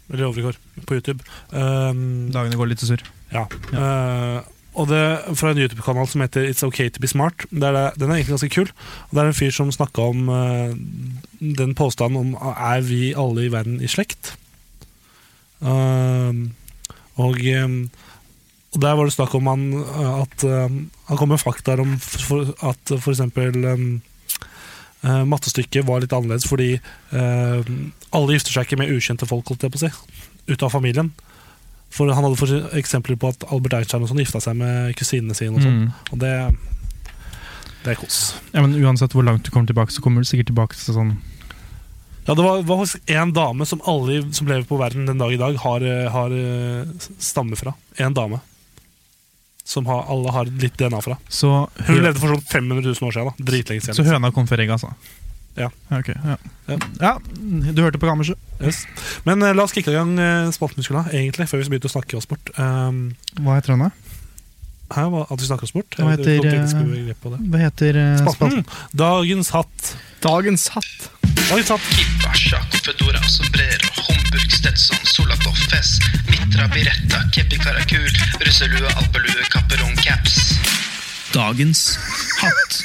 Eller i overgår, på YouTube. Um,
Dagene går litt sur.
Ja. Eh, og det er fra en YouTube-kanal som heter It's Okay To Be Smart. Det er det, den er egentlig ganske kul. Og det er en fyr som snakka om eh, den påstanden om er vi alle i verden i slekt. Ehm, og, ehm, og der var det snakk om han eh, at ehm, Han kom med fakta om f- for, at f.eks. Um, mattestykket var litt annerledes fordi ehm, alle gifter seg ikke med ukjente folk, holdt jeg på å si. Ut av familien. For han hadde for eksempler på at Albert Einstein og sånn gifta seg med kusinene sine. Og, sånn.
Mm.
og det, det er kos.
Ja, men Uansett hvor langt du kommer tilbake, så kommer du sikkert tilbake til sånn
Ja, det var, var faktisk en dame som alle som lever på verden den dag i dag, har, eh, har eh, stammer fra. En dame. Som har, alle har litt DNA fra.
Så,
Hun
hø
levde for sånn 500 000 år siden. da Dritlenge
så
siden.
høna kom før egget, altså?
Ja.
ok, ja.
Ja.
ja. Du hørte på Kammerset.
Yes. Men eh, la oss kicke i gang uh, spaltemuskelen, egentlig, før vi begynte å snakke oss bort. Um,
Hva heter han, da?
her var at vi snakka oss bort.
Hva
Jeg vet ikke
heter,
om dere skulle
eh,
begripe på det.
Hva heter eh, spalten?
Spalten. Dagens hatt.
Dagens hatt.
Dagens hatt.
Kipasjak, Fedora, Sombrero, Homburg, Stetson, Solakoff, Fess, Mitra, Biretta, Kepi Karakul, russelue, alpelue, kapperong, caps. Dagens hatt.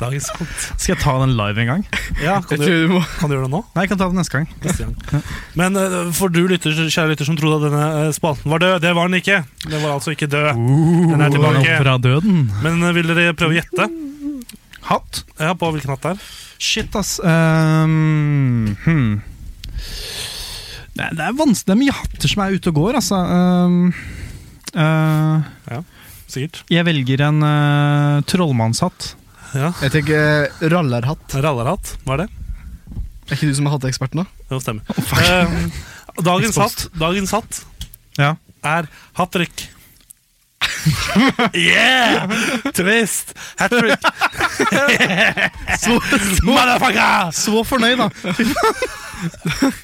Dagens hatt.
*laughs* Skal jeg ta den live en gang?
Ja, kan
Jeg
du,
tror du må
kan du gjøre det nå?
Nei, jeg kan ta den neste gang.
neste gang. Men eh, for du lytter, kjære lytter som trodde at denne eh, spalten var død, det var den ikke. Den var altså ikke død. Den er tilbake.
Uh. Fra døden.
Men eh, vil dere prøve å gjette
Hatt?
Ja, på hvilken hatt det er?
Shit, ass. Ehm, hmm. det, er- det er vanskelig. Det er mye hatter som er ute og går, altså. Ehm, eh,
Sikkert.
jeg velger en eh, trollmannshatt.
Ja.
Jeg tenker eh, rallerhatt.
Rallarhatt, hva er det?
Er ikke du som er hatteeksperten, da?
Jo, stemmer. Eh, dagens, hatt, dagens hatt
Ja.
er hat trick. *laughs* Yeah! Twist! Hat trick! Motherfucker!
Så fornøyd, da!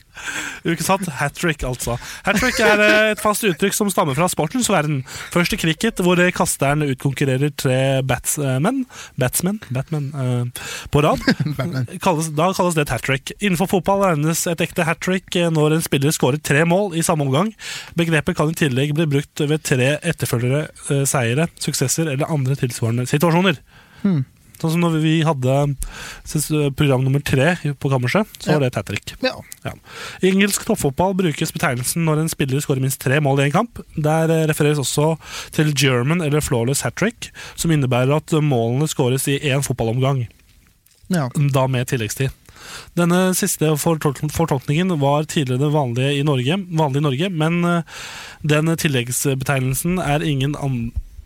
Ukens hatt, hat trick, altså. Hat trick er eh, et fast uttrykk som stammer fra sportens verden. Først i cricket, hvor eh, kasteren utkonkurrerer tre batsmenn Batsmenn? Batman eh, på rad. kalles, da kalles det et hat trick. Innenfor fotball regnes et ekte hat trick eh, når en spiller skårer tre mål i samme omgang. Begrepet kan i tillegg bli brukt ved tre etterfølgere eh, seire, suksesser eller andre tilsvarende situasjoner.
Hmm.
Sånn som når vi hadde synes, eh, program nummer tre på kammerset, så
Ja.
var det et hat trick.
Ja.
I engelsk toppfotball brukes betegnelsen når en spiller skårer minst tre mål i en kamp. Der eh, refereres også til German eller flawless hat trick, som innebærer at målene skåres i én fotballomgang,
Ja.
da med tilleggstid. Denne siste fortolk- fortolkningen var tidligere den vanlige i Norge, vanlig i Norge men eh, den tilleggsbetegnelsen er ingen an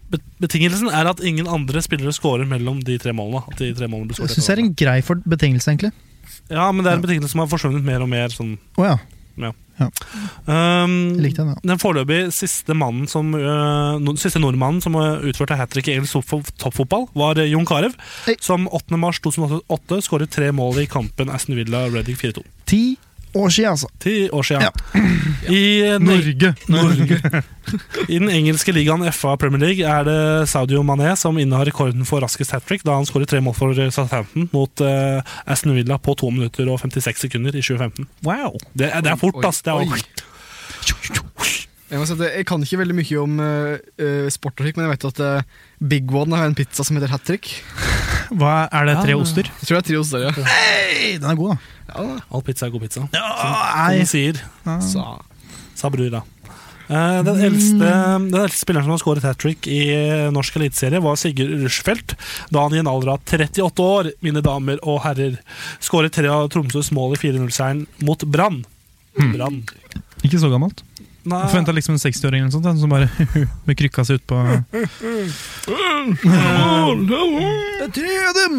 bet- Betingelsen er at ingen andre spillere scorer mellom de tre målene. At de tre målene blir
Jeg
skåret
syns det er en grei for betingelse, egentlig.
Ja, men det er en betegnelse som har forsvunnet mer og mer. sånn
Å ja.
Ja.
Ja.
Um,
Jeg likte den, ja.
den foreløpig siste mannen som øh, no, Siste nordmannen som øh, utførte hat trick i engelsk toppfo- toppfotball, var øh, Jon Carew.
Hei.
Som 8. mars 2008 skåret tre mål i kampen Aston Villa Reading 4-2.
Ti år siden, altså.
Ti år siden.
Ja.
*clears throat* I, øh, den-
Norge!
*laughs* I den engelske ligaen FA Premier League er det Saudio Mané som innehar rekorden for raskest hat trick, da han skåret tre mål for øh, Southampton mot øh, Aston Villa på 2 minutter og 56 sekunder i 2015.
Wow!
Det, er- det er fort,
Oi,
ass. Det er,
oi. Jeg, må si at jeg kan ikke veldig mye om eh, eh, sport og slik, men jeg vet at eh, Big One har en pizza som heter Hat Trick.
Hva er det? Tre
Ja.
oster?
Jeg tror det er tre hos dere.
Hey, den er god, da.
all pizza er god pizza. Som
Nei.
de sier.
Sa.
sa brura. Eh, Den eldste, den eldste spilleren som har skåret hat trick i eh, norsk eliteserie, var Sigurd Rushfeldt, da han i en alder av 38 år, mine damer og herrer, skåret tre av Tromsøs mål i 4-0-seieren mot Brann. Brann.
Ikke så gammelt.
Nei,
Jeg forventa liksom en 60-åring eller noe sånt, den som bare *laughs* med krykka seg utpå
Tre av dem!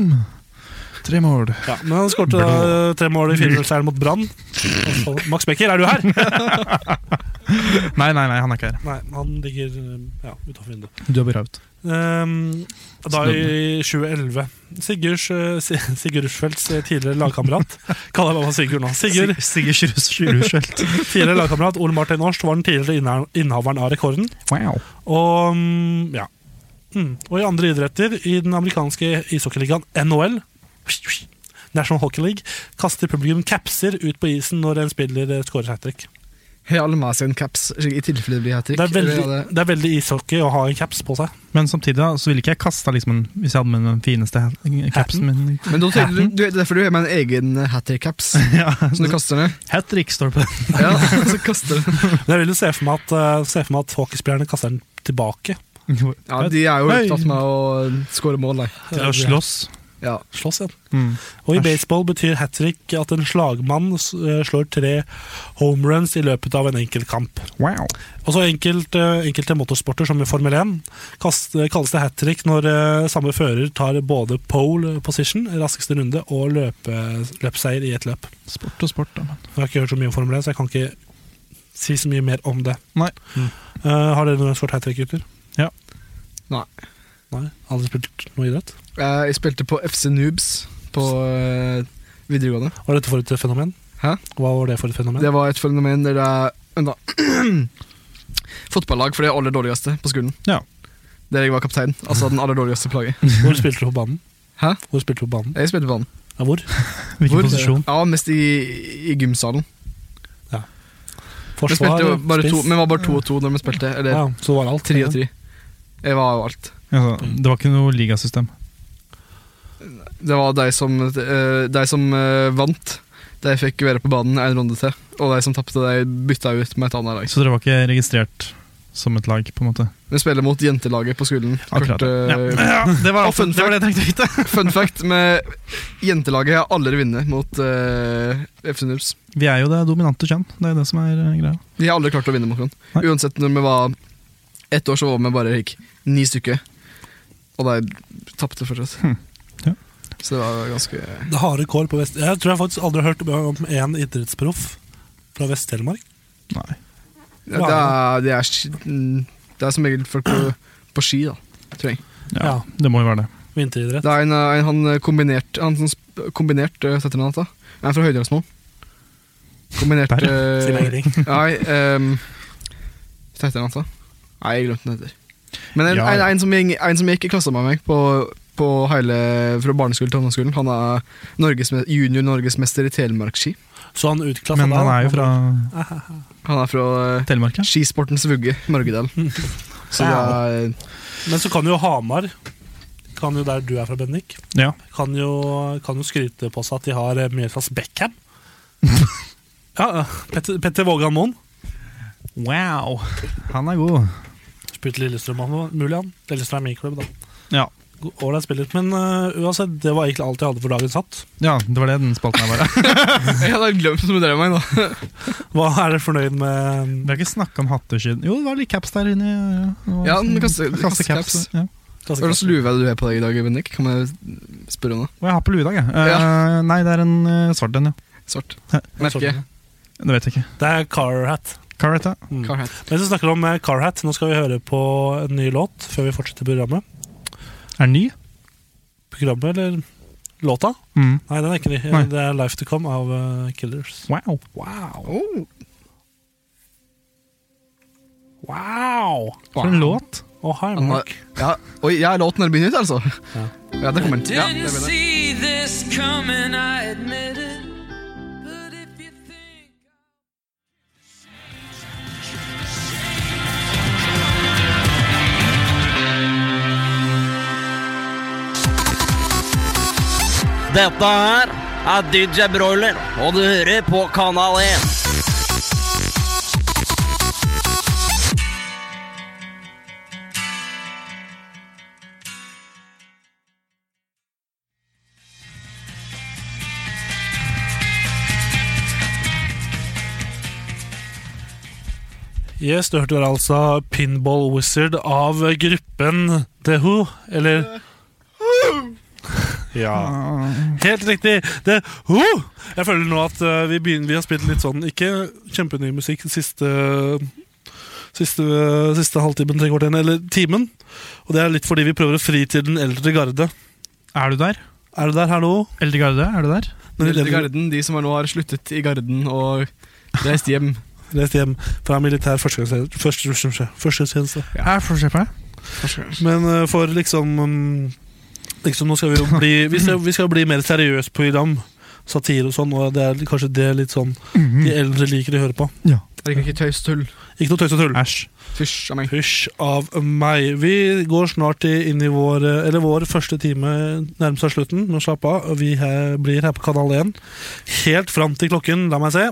Tre mål.
ja, men han skåret eh, tre mål i 4-0-seieren mot Brann. Og så- Max Becker, er du her?
Nei, nei, nei, han er ikke her.
Nei, han ligger eh, ja, utafor vinduet.
Du har bare out.
Ehm, da i 2011. Sigurds, eh, Si- Sigurd Rushfeldts eh, tidligere *laughs* lagkamerat Kaller jeg bare Sigurd nå. Sigurd
Sigurd Rushfeldt.
Tidligere lagkamerat Ole Martin Årst var den tidligere inneha- innehaveren av rekorden.
Wow.
Og, mm, ja. mm. og i andre idretter i den amerikanske ishockeyligaen NHL National Hockey League kaster publikum capser ut på isen når en spiller eh, scorer hat trick.
Real Masin caps, slik i tilfelle det blir Hat Trick.
Det, er
Eller
veldig-
er det-
det er veldig ishockey å ha en caps på seg.
Men samtidig da, så ville ikke jeg kasta liksom en, hvis jeg hadde med den fineste hat- capsen min.
Men da tenker du, du, det er derfor du har med en egen Hat Trick-caps
*laughs* Ja,
som du kaster ned.
Hat trick står på den.
*laughs* Ja, så kaster du den.
Men jeg vil jo se for meg at, eh, se for meg at hockeyspillerne kaster den tilbake.
Ja, de er jo
Hei.
opptatt med å skåre mål, nei.
Til
Eh,
å slåss.
Ja.
Slåss igjen.
Mm.
Og i
Æsj.
baseball betyr hat trick at en slagmann s- eh, slår tre homeruns i løpet av en enkelt kamp.
Wow.
Og så enkelt, eh, enkelte motorsporter, som i Formel 1, kast, eh, kalles det hat trick når eh, samme fører tar både pole position, raskeste runde, og løpe, løpseier i ett løp.
Sport og sport, da. Men.
Jeg har ikke hørt så mye om Formel 1, så jeg kan ikke si så mye mer om det.
Nei.
Eh, har dere noen skåret hat trick, gutter?
Ja.
Nei.
Nei? Aldri spilt noe idrett?
Eh, Jeg spilte på FC Noobs på eh, videregående.
Hva er dette for et fenomen?
Hæ?
Hva var det for et fenomen?
Det var et fenomen der det er vent da. *clears throat* Fotballag for de aller dårligste på skolen.
Ja.
Der jeg var kaptein. Altså den aller dårligste
*laughs*
plaget.
Hvor spilte du på banen?
Hæ?
Hvor spilte du på banen?
Jeg spilte på banen.
Ja, hvor?
Hvilken
Hvor?
posisjon?
Ja, mest i, i gymsalen. Vi
Forsvar?
spilte jo bare to,
spiss?
men var bare to og to når vi spilte. Eller
ja, så var det alt.
tre og tre. Jeg var jo alt.
Altså, det var ikke noe ligasystem.
Det var de som, eh, de som eh, vant. De fikk være på banen en runde til. Og de som tapte, de bytta ut med et annet lag.
Så dere var ikke registrert som et lag, på en måte?
Vi spiller mot jentelaget på skolen.
Akkurat,
Kort, eh,
det, var,
Og fun
det var det jeg trengte å vite!
Fun fact med jentelaget har aldri vunnet mot eh, FC Noobs.
Vi er jo det dominante kjønn. Det er jo det som er eh, greia.
De har aldri klart å vinne mot noen.
Nei.
Uansett, når vi var ett år, så var vi bare gikk ni stykker. Og de tapte fortsatt.
Hmm. Ja.
Så det var ganske
Det er harde kår på Vest... Jeg tror jeg faktisk aldri har hørt om én idrettsproff fra Vest-Telemark.
Nei.
ja, det, er, det, er, sk- det er som regel folk på, på ski, da. Tror jeg.
Ja,
Ja.
Det må jo være det.
Vinteridrett.
Det er en, eh, en han kombinert Han som sp- kombinert uh, setter han da. Han er fra Høydalsmoen. Kombinert
Der,
eh,
Siv Egring.
Nei, ehm, Hva heter han, altså? Nei, jeg glemte den heter. Men en,
Ja,
en,
ja.
en, som gikk, en som gikk i klasse med meg på, på hele, fra barneskolen til ungdomsskolen, han er Norgesme- junior-norgesmester i telemarkski.
Så han utklassa
Men han er jo fra
Han er fra eh,
Telemark, ja.
skisportens vugge,
*laughs*
Mørgedal. Så det er,
Men så kan jo Hamar, kan jo der du er fra, Bendik,
ja.
kan jo, kan jo skryte på seg at de har eh, mye slags
*laughs*
Beckham. Ja, ja. Petter, Petter Vågan Moen.
Wow! Han er god.
Spilte Lillestrøm, han var mulig han. Lillestrøm er min klubb, da.
Ja.
God- Ålreit spiller. Men eh, uansett, det var egentlig alt jeg hadde for dagen satt.
ja, det var det den spalten *laughs* her var.
jeg hadde glemt å bedre meg, da.
Hva er dere fornøyd med? eh,
Vi har ikke snakka om hatter siden Jo, det var litt caps der inne. ja, ja. Det var
Ja,
liksom-
men kaste-
kaste
kastecaps.
caps, ja.
Hva slags lue er det du har på deg i dag, Bendik? Kan jeg spørre om det?
Og jeg har på lue i dag, jeg. Eh, Nei, det er en eh, svart en, ja. *laughs*
Svart.
Ja.
Merke.
Det vet jeg ikke.
Det er Carhat.
Carrot, ja.
Mm. Mens vi snakker om eh, Carhat, nå skal vi høre på en ny låt før vi fortsetter programmet.
Er den ny?
Programmet, eller låta?
Mm.
Nei, den er ikke ny.
Nei.
Det er Life To Come av eh, Killers.
Wow.
Wow. Wow!
For en låt.
Å, hei, Mark.
Ja, oi, jeg er låten når det begynner, ut, altså.
Ja,
ja det kommer den. Ja,
Didn't
det begynner.
see this coming, I admit it.
Dette her er DJ Broiler, og du hører på Kanal 1.
Yes, du hørte der altså Pinball Wizard av gruppen The Who, eller Ja. Helt riktig! The Who! Jeg føler nå at eh, vi, begynner, vi har spilt litt sånn ikke kjempeny musikk siste Siste, siste halvtimen, tre kvarteren, eller timen. Og det er litt fordi vi prøver å fri til den eldre garde.
Er du der?
Er du der, hallo?
Eldre Garde, er du der?
Men
Eldre
det-
garden, de som er nå har sluttet i garden og reist hjem.
Reist hjem fra militær førstegangstjeneste. Første, førstegangstjeneste.
Her får du se på det.
Men eh, for liksom mm, Liksom nå skal vi jo bli Vi skal, vi skal bli mer seriøst program. Satire og sånn, og det er kanskje det litt sånn de eldre liker å høre på.
Jeg liker ikke tøys tull.
Ikke noe tøys og tull.
Æsj.
Fysj av meg.
Hysj av meg. Vi går snart i- inn i vår eh, Eller vår første time nærmer seg slutten. Nå slapp av. Vi her, blir her på Kanal 1 helt fram til klokken La meg se.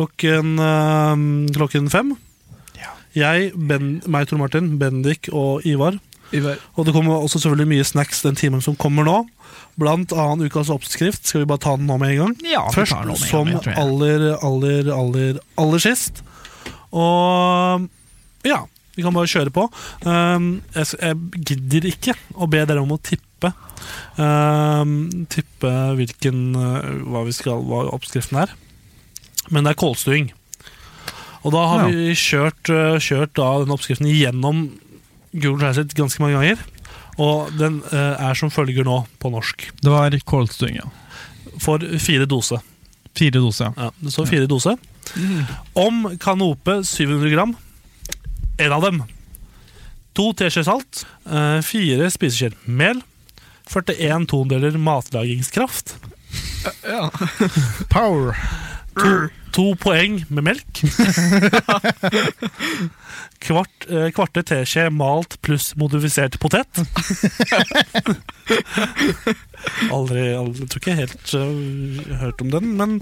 Klokken, eh, klokken fem. Jeg, ben, meg, Tor Martin, Bendik og Ivar
Ivar.
Og det kommer også selvfølgelig mye snacks den timen som kommer nå. Blant annet ukas oppskrift. Skal vi bare ta den nå med en gang?
Ja, vi
Først
tar den nå med en
som
gang, tror jeg.
aller, aller, aller, aller sist. Og ja, vi kan bare kjøre på. Um, jeg, s- jeg gidder ikke å be dere om å tippe. Um, tippe hvilken uh, hva, vi skal, hva oppskriften er. Men det er kålstuing. Og da har
Ja.
vi kjørt, uh, kjørt da den oppskriften gjennom Google Translate ganske mange ganger. Og den eh, er som følger nå på norsk.
Det var kålstuing, ja.
For fire dose.
Fire doser, ja.
Ja, det står fire dose. Om kanope 700 gram. En av dem. To teskjeer salt. eh, Fire spiseskjeer mel. 41 tondeler matlagingskraft.
Ja.
Power.
To, to poeng med melk. Kvart, eh, kvarte teskje malt pluss modifisert potet. Aldri, aldri jeg Tror ikke jeg helt eh, hørt om den, men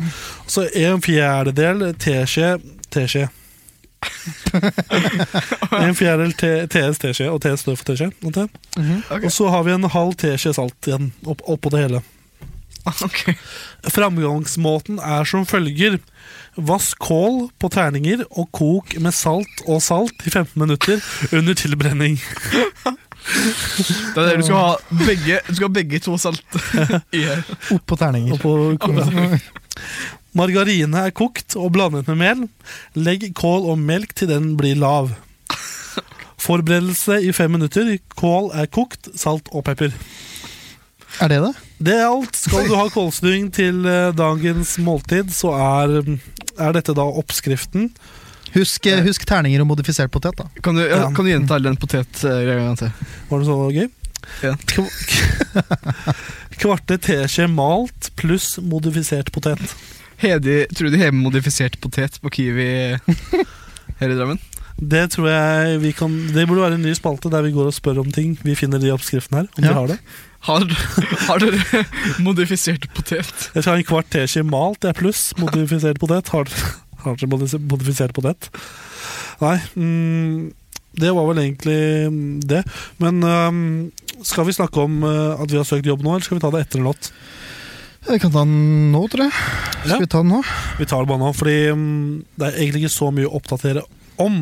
så en fjerdedel teskje Teskje. en fjerdedel te- TS teskje, og TS står for teskje. Og, te.
Ok.
og så har vi en halv teskje salt igjen opp, oppå det hele.
Ok.
Framgangsmåten er som følger. Vask kål på terninger og kok med salt og salt i 15 minutter under tilbrenning.
Det er det du skal ha begge, du skal ha begge to salt *laughs* i her.
Oppå terninger.
Og på *laughs* Margarine er kokt og blandet med mel. Legg kål og melk til den blir lav. Forberedelse i fem minutter. Kål er kokt, salt og pepper.
Er det det?
Det er alt. Skal du ha kålstuing til eh, dagens måltid, så er, er dette da oppskriften.
Husk, eh, husk terninger og modifisert potet, da.
Kan du, ja,
Ja.
kan du gjenta all den potetgreia til?
Var det så gøy?
Ja.
Kva- *laughs* Kvarte teskje malt pluss modifisert potet.
Hedi, tror du de har modifisert potet på Kiwi her i Drammen?
Det tror jeg vi kan Det burde være en ny spalte der vi går og spør om ting. Vi finner de oppskriftene her. Om
Ja.
de har det
Har, har dere *laughs* modifisert potet?
Jeg skal ha en kvart teskje malt, det er pluss. Modifisert potet. Har har dere *laughs* modif- modifisert potet? Nei. Mm, det var vel egentlig mm, det. Men øhm, skal vi snakke om øh, at vi har søkt jobb nå, eller skal vi ta det etter en låt?
Vi kan ta den nå, tror jeg.
Ja.
Skal vi ta den nå?
Vi tar det bare nå, fordi mm, det er egentlig ikke så mye å oppdatere om.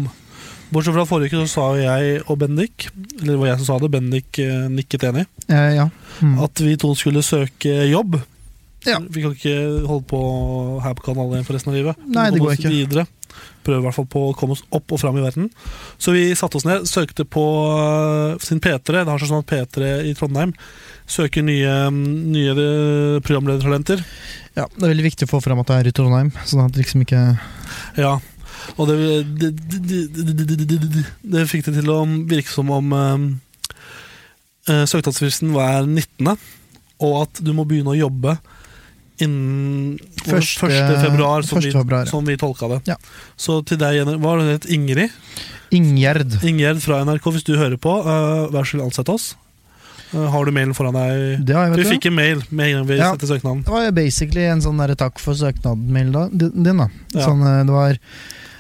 Bortsett fra forrige uke så sa jo jeg og Bendik, eller det var jeg som sa det, Bendik eh, nikket enig,
Eh, ja. Mm.
at vi to skulle søke jobb.
Ja.
Vi kan ikke holde på her på Kanal 1 for resten av livet. Vi
Nei,
må
det
komme
går
oss
ikke.
Videre. Prøve i hvert fall på å komme oss opp og fram i verden. Så vi satte oss ned, søkte på eh, sin P3. Det har seg sånn at P3 i Trondheim søker nye, nye programledertalenter.
ja, Det er veldig viktig å få fram at det er i Trondheim, sånn at det liksom ikke
Ja, og det, det, det, det, det, det, det, det, det fikk det til å virke som om ehm, eh, eh, søknadsfristen var 19., og at du må begynne å jobbe innen
Første-
1. februar, som,
første februar, ja.
vi, som vi tolka det.
Ja.
Så til deg, Jenny- hva har du hett? Ingrid?
Ingjerd.
Ingjerd fra NRK, hvis du hører på, eh, vær så snill, ansett oss. Eh, har du mailen foran deg?
Det har jeg, vet
vi
du.
fikk en mail med en gang vi
Ja.
sendte søknaden.
Det var jo basically en sånn der, takk for søknaden-mail da- din, da.
Ja.
Sånn, eh, det var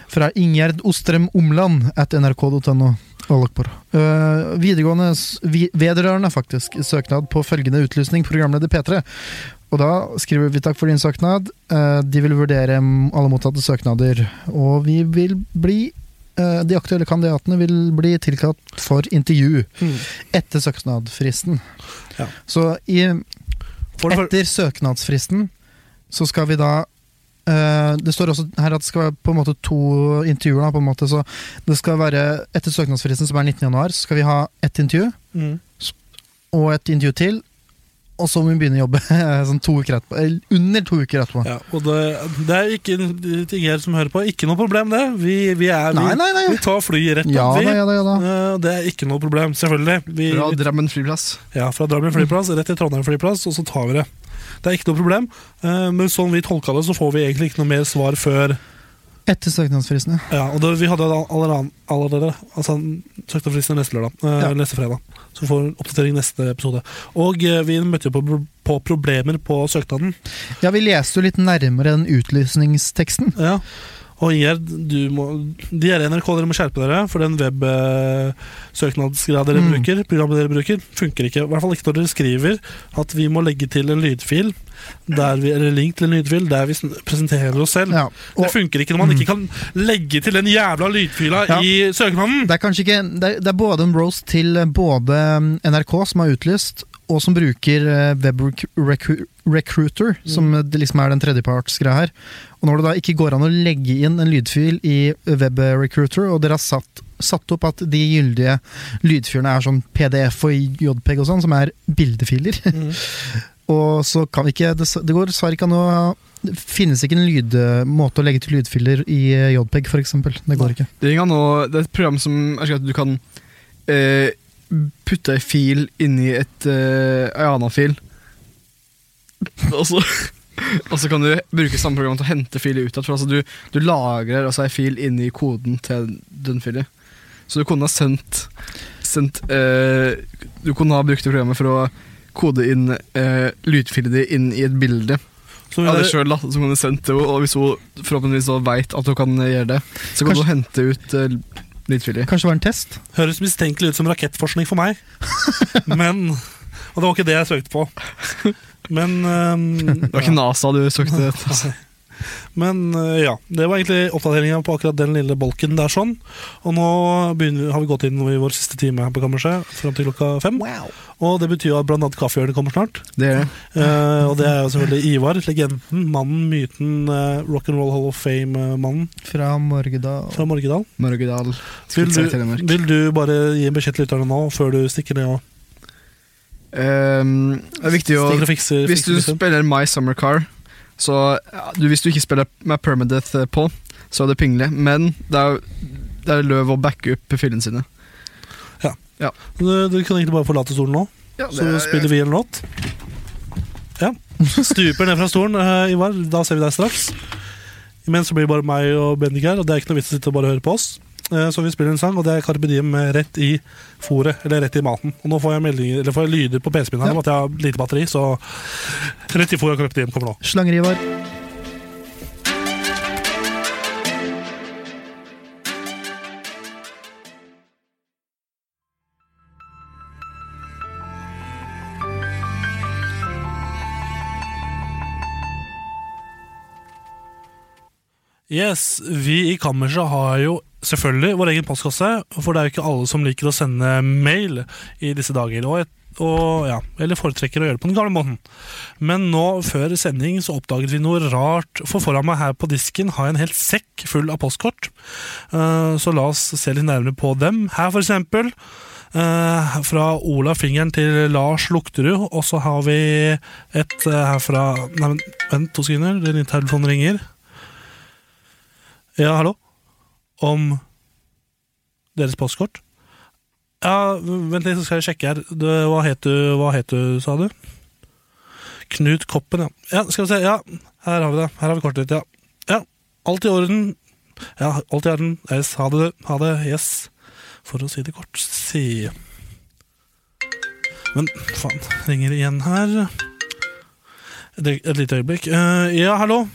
fra Ingjerd Ostrem Omland at nrk.no. Allahu akbar. Eh, videregående s- vi, Vedrørende, faktisk, søknad på følgende utlysning, programleder P3. Og da skriver vi takk for din søknad. Eh, de vil vurdere mm, alle mottatte søknader, og vi vil bli eh, de aktuelle kandidatene vil bli tilkalt for intervju
Mm.
etter søknadsfristen.
Ja.
Så i
For det første-
etter søknadsfristen så skal vi da eh, Det står også her at det skal være på en måte to intervjuer. Da, på en måte, så det skal være Etter søknadsfristen, som er 19. januar, så skal vi ha ett intervju
Mm.
s- og et intervju til. Og så må vi begynne å jobbe *laughs* sånn to uker etterpå. Eller under to uker etterpå.
Ja, og det, det er ikke ting her som hører på. Ikke noe problem, det. Vi, vi, er, vi,
Nei, nei, nei.
vi tar flyet rett
Ja
opp, vi.
da, ja da, ja da.
Eh, Det er ikke noe problem, selvfølgelig. Vi,
Fra Drammen flyplass.
ja, fra Drammen flyplass rett til Trondheim flyplass, og så tar vi det. Det er ikke noe problem, eh, men sånn vi tolka det, så får vi egentlig ikke noe mer svar før
Etter søknadsfristen, ja.
ja, og det, Vi hadde all- allerede, allerede altså, søknadsfristen neste lørdag. eh,
Ja.
Neste fredag. Så vi får en oppdatering neste episode. Og eh, vi møtte jo på, pro- på problemer på søknaden.
Ja, vi leste jo litt nærmere den utlysningsteksten.
Ja. Og Ingjerd, du må, de er i NRK, dere må skjerpe dere, for den websøknadsgreia dere
Mm.
bruker, programmet dere bruker, funker ikke. I hvert fall ikke når dere skriver at vi må legge til en lydfil, der vi, eller link til en lydfil, der vi sn- presenterer oss selv.
Ja, og-
det funker ikke når man ikke kan legge til den jævla lydfila
Ja.
i
*laughs*
søknaden!
Det er kanskje ikke det er, det er både en roast til både mm, NRK, som har utlyst, og som bruker eh, web rec- recru- recruiter, som eh, det liksom er den tredjepartsgreia her. Og når det da ikke går an å legge inn en lydfil i eh, web recruiter, og dere har satt, satt opp at de gyldige lydfilene er sånn PDF og JPEG og sånn, som er bildefiler *laughs* Og så kan vi ikke Det, det går dessverre ikke an å det finnes ikke en lyd, måte å legge til lydfiler i eh, JPEG, f.eks. Det går ikke.
Det er, noe, det er et program som er slik at du kan eh, putte ei fil inni et eh, ei anna fil. Og så, og så kan du bruke samme program til å hente filer ut. For altså du, du lagrer altså ei fil inni koden til den filen. Så du kunne ha sendt, sendt eh, Du kunne ha brukt det programmet for å kode inn eh, lydfilen din inn i et bilde.
Så
av
det-
deg sjøl, da. Som hun sendte henne. Og hvis hun forhåpentligvis da veit at hun kan gjøre det, så kan
Kanskje-
hun hente ut eh, lydfiler.
Kanskje det var en test?
Høres mistenkelig ut som rakettforskning for meg. Men Og det var ikke det jeg søkte på. Men um,
Det var ikke NASA du søkte etter.
*laughs* Nei. Men eh, ja, det var egentlig oppdateringen på akkurat den lille bolken der sånn. Og nå begynner, vi- har vi gått inn i vår siste time her på kammerset, fram til klokka fem. Og det betyr jo at blant annet kaffehjørnet kommer snart.
Det er det.
Eh, og det er jo selvfølgelig Ivar, legenden, mannen, myten, uh, rock'n'roll Hall of Fame-mannen
Fra Morgedal.
fra Morgedal.
Mørgedal.
Vil
Spitzer i
du,
Telemark.
vil du bare gi en beskjed til lytterne nå, før du stikker ned og
Ehm, det er viktig å
stikker og fikser?
Hvis
fikser
du
liksom?
spiller My Summer Car, så ja, du, Hvis du ikke spiller med Permadeath eh, på, så er det pinlig. Men det er, det er løv å backe opp filene sine.
Du, du kan egentlig bare forlate stolen nå, så spiller vi en låt. Ja. Stuper ned fra stolen, eh, Ivar. Da ser vi deg straks. Imens så blir det bare meg og Bendik her, og det er ikke noe vits i å sitte og bare høre på oss. Eh, Så vi spiller en sang, og det er Carpe Diem med rett i fôret, eller rett i maten. Og nå får jeg, meldinger, eller får jeg lyder på PC-en min her om at jeg har lite batteri, så rett i fôret og Carpe Diem kommer nå.
Slanger-Ivar.
Yes, vi i Kammerset har jo selvfølgelig vår egen postkasse, for det er jo ikke alle som liker å sende mail i disse dager. Og, et, og ja, Eller foretrekker å gjøre det på den gamle måten. Men nå før sending så oppdaget vi noe rart, for foran meg her på disken har jeg en hel sekk full av postkort. Eh, Så la oss se litt nærmere på dem. Her, for eksempel. eh, fra Ola Fingeren til Lars Lukterud, og så har vi et eh, her fra Nei, men vent to sekunder, din telefon ringer. Ja, hallo? Om deres postkort? Ja, vent litt, så skal jeg sjekke her. Du, hva, het du, hva het du, sa du? Knut Koppen, ja. ja. Skal vi se, ja. Her har vi det. Her har vi kortet ditt, ja. Ja, alt i orden. Ja, alt i orden. Yes, ha det, du. Ha det. Yes. For å si det kort, si Men faen, ringer igjen her. Et, et lite øyeblikk. Eh, ja, hallo?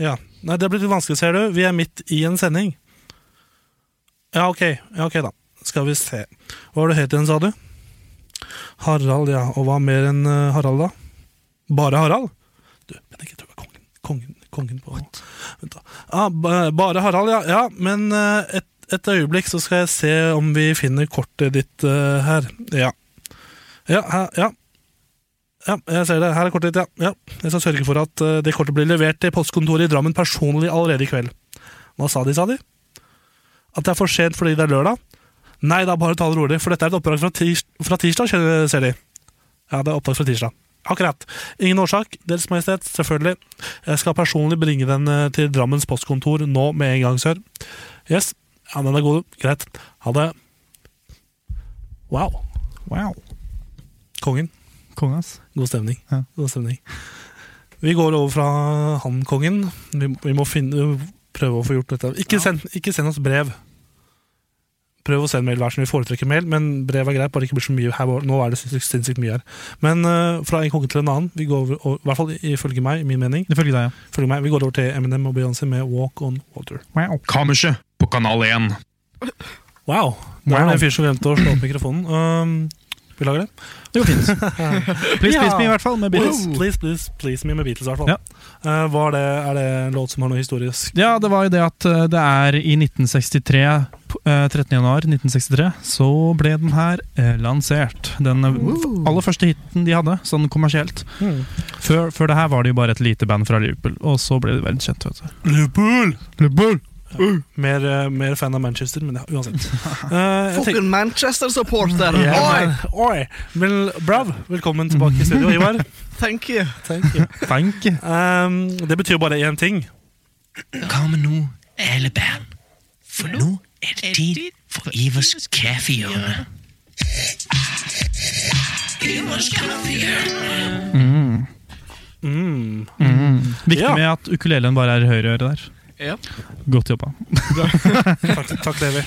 Ja. Nei, det har blitt litt vanskelig, ser du. Vi er midt i en sending. Ja, ok. Ja, ok da. Skal vi se. Hva var det du het igjen, sa du? Harald, ja. Og hva mer enn eh, Harald, da? Bare Harald? Du, Bendik, jeg tror det var kongen. Kongen, kongen på Vent da. Ah, ba- bare Harald, ja. ja men eh, et, et øyeblikk, så skal jeg se om vi finner kortet ditt eh, her. Ja. Ja, her, ja. Ja, jeg ser det. Her er kortet ditt, ja. ja. Jeg skal sørge for at eh, det kortet blir levert til postkontoret i Drammen personlig allerede i kveld. Hva sa de, sa de? At det er for sent fordi det er lørdag? Nei da, bare ta det rolig, for dette er et oppdrag fra, tirs fra tirsdag, skjønner- ser de. Ja, det er oppdrag fra tirsdag. Akkurat. Ingen årsak, Deres Majestet, selvfølgelig. Jeg skal personlig bringe den eh, til Drammens postkontor nå med en gang, sør. Yes. Ja, den er god, du. Greit. Ha det. Wow.
Wow.
Kongen.
Konge, ass.
God stemning. God stemning. Vi går over fra han kongen. Vi, vi må finne, prøve å få gjort dette. Ikke, send, ikke send oss brev. Prøv å sende mail hver som vi foretrekker mail, men brev er greit, bare ikke blir så mye her. hvor- Nå er det sinnssykt sinnssykt mye her. Men eh, fra en konge til en annen, vi går over, og, i hvert fall ifølge meg, i min mening,
Ifølge deg, ja.
Følg meg, vi går over til Eminem og Beyoncé med Walk on Water.
Kammerset på Kanal 1.
Wow! Det var en fyr som glemte å slå opp mikrofonen. Um, vi lager det.
Det går fint. Please, please me i hvert fall, med Beatles.
Please, please, please, please me med Beatles, i hvert fall. Eh, var det, er det en låt som har noe historisk?
Ja, det var jo det at eh, det er i 1963, eh, 13. januar 1963, så ble den her eh, lansert. Den eh, f- aller første hiten de hadde, sånn kommersielt.
Mm.
Før, før det her var det jo bare et lite band fra Liverpool, og så ble de verdenskjent, vet du.
Liverpool!
Liverpool!
Mer, eh, mer fan av Manchester, men ja,
*laughs*
uansett. Eh,
Fucking Manchester-supporter! Oi!
Oi! Oi! Vel, brav! Velkommen tilbake i studio,
*laughs*
Ivar.
Thank you.
Thank you.
Thank you.
Um, det betyr jo bare én ting.
Kom nå, alle barn. For nå er det tid for Ivers kaffehjørne. Ivers kaffehjørne.
Mm.
Mm.
Viktig
Ja.
med at ukulelen bare er i høyre øre der.
Ja.
Godt jobba.
takk, takk, Levi.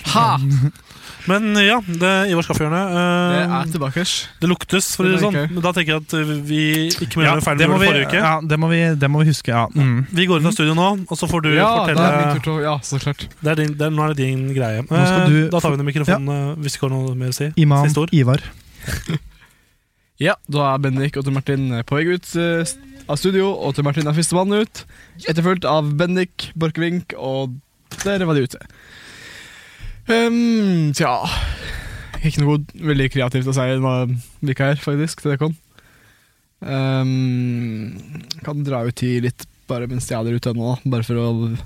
Men ja, det er Ivars kaffehjørne. eh,
Det er tilbakers.
Det luktes, for å si det sånn.
Det er
Men da tenker jeg at eh, vi ikke må gjøre den feilen
det
vi
må
gjorde
vi,
forrige uke.
ja, det må vi, det må vi huske. Ja. Mm.
Vi går ut av studio nå, og så får du
ja,
fortelle
det er min tur til å Ja, så klart.
Det er din, det er, Nå er det din greie.
Nå skal
Eh,
du-
da tar vi ned mikrofonen eh, hvis det ikke har noe mer å si.
Imam
Siste ord.
Ivar.
Ja, da er Bendik og Tor Martin på vei ut eh, st- av studio, og Tor Martin er førstemann ut. Etterfulgt av Bendik, Borchgrevink, og der var de ute. Um, tja Ikke noe veldig kreativt å si hva vi ikke er, faktisk, til det kom. Um, kan dra ut i litt bare mens jeg er der ute nå, da. Bare for å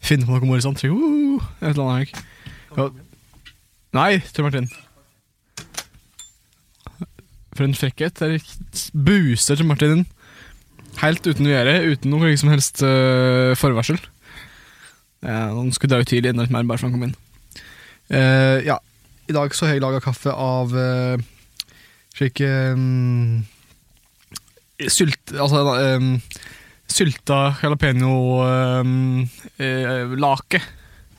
finne på noe morsomt. Sikkert, Uh, et eller annet. Ja. Nei, Tor Martin. For en frekkhet. Der buser til Martin inn. Helt uten gjøre, uten noe som helst øh, forvarsel. Eh, han skulle dra ut tidlig enda litt mer bare for han kom inn. Eh, ja, i dag så har jeg laga kaffe av eh, slike mm, Sylt... Altså eh, sylta eh, jalapeño-lake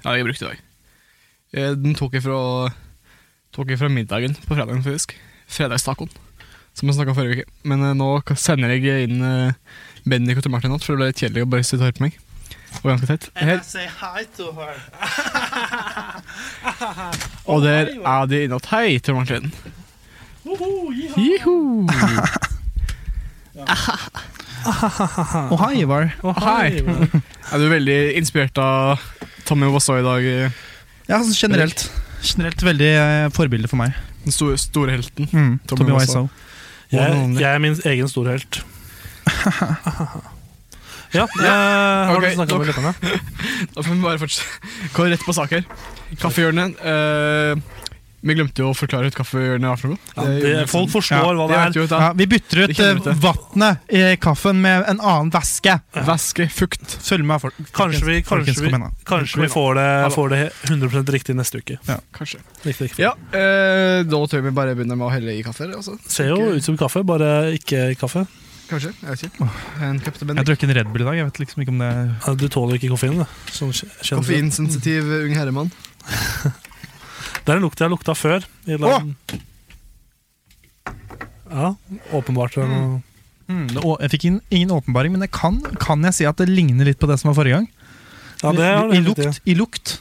har jeg brukt i dag. Eh, den tok jeg fra tok jeg fra middagen på fredagen, faktisk. Fredagstacoen, som jeg snakka om forrige uke. Men eh, nå k- sender jeg inn eh, Bendik og Tor Martin igjen, for det ble litt kjedelig å bare sitte og høre på meg. Og ganske teit. Helt.
say hi to her.
*laughs* Og der er de inne at Hei, Tor Martin. Jiho!
*laughs*
Ah.
Og hei, Ivar.
Å, hei!
Er du veldig inspirert av Tommy Wasaa i dag? eh,
Ja, altså, generelt. Generelt veldig eh, forbilde for meg.
Den store, store helten.
Mm, Tommy Wiseau.
Jeg, jeg er min egen store helt.
*laughs*
Ja, eh, har du snakket med leppene?
Da får vi bare fortsette. Gå rett på sak her. Kaffehjørnet. eh, vi glemte jo å forklare hva et kaffehjørne var for noe.
Ja, det-
liksom-
folk forstår hva det
de
er.
vet jo dette.
Ja, vi bytter
De
ut
kjenner
eh,
det.
vannet i kaffen med en annen væske.
Væske, fukt.
Følg med, folk.
Kanskje vi, kanskje
Folkens,
vi,
kom igjen da.
kanskje vi får, det, får det 100 riktig neste uke.
Kanskje.
Riktig, riktig.
Ja, eh, da tør vi bare begynne med å helle i kaffe. Altså.
Ser jo ut som kaffe, bare ikke kaffe.
Kanskje. Jeg vet ikke. En cup til
Jeg
Bendik.
drakk en Red Bull i dag. Jeg vet liksom ikke om det
Ja, Du tåler ikke koffein, da. Sånn kj- kjenner du.
Koffeinsensitiv eh, ung herremann.
Det er en lukt jeg har lukta før. I land. Ja, åpenbart. er det noe-
Mm, det, å- jeg fikk inn, ingen åpenbaring, men jeg kan, kan jeg si at det ligner litt på det som var forrige gang.
Ja, det har du
I, i,
helt
lukt, I lukt.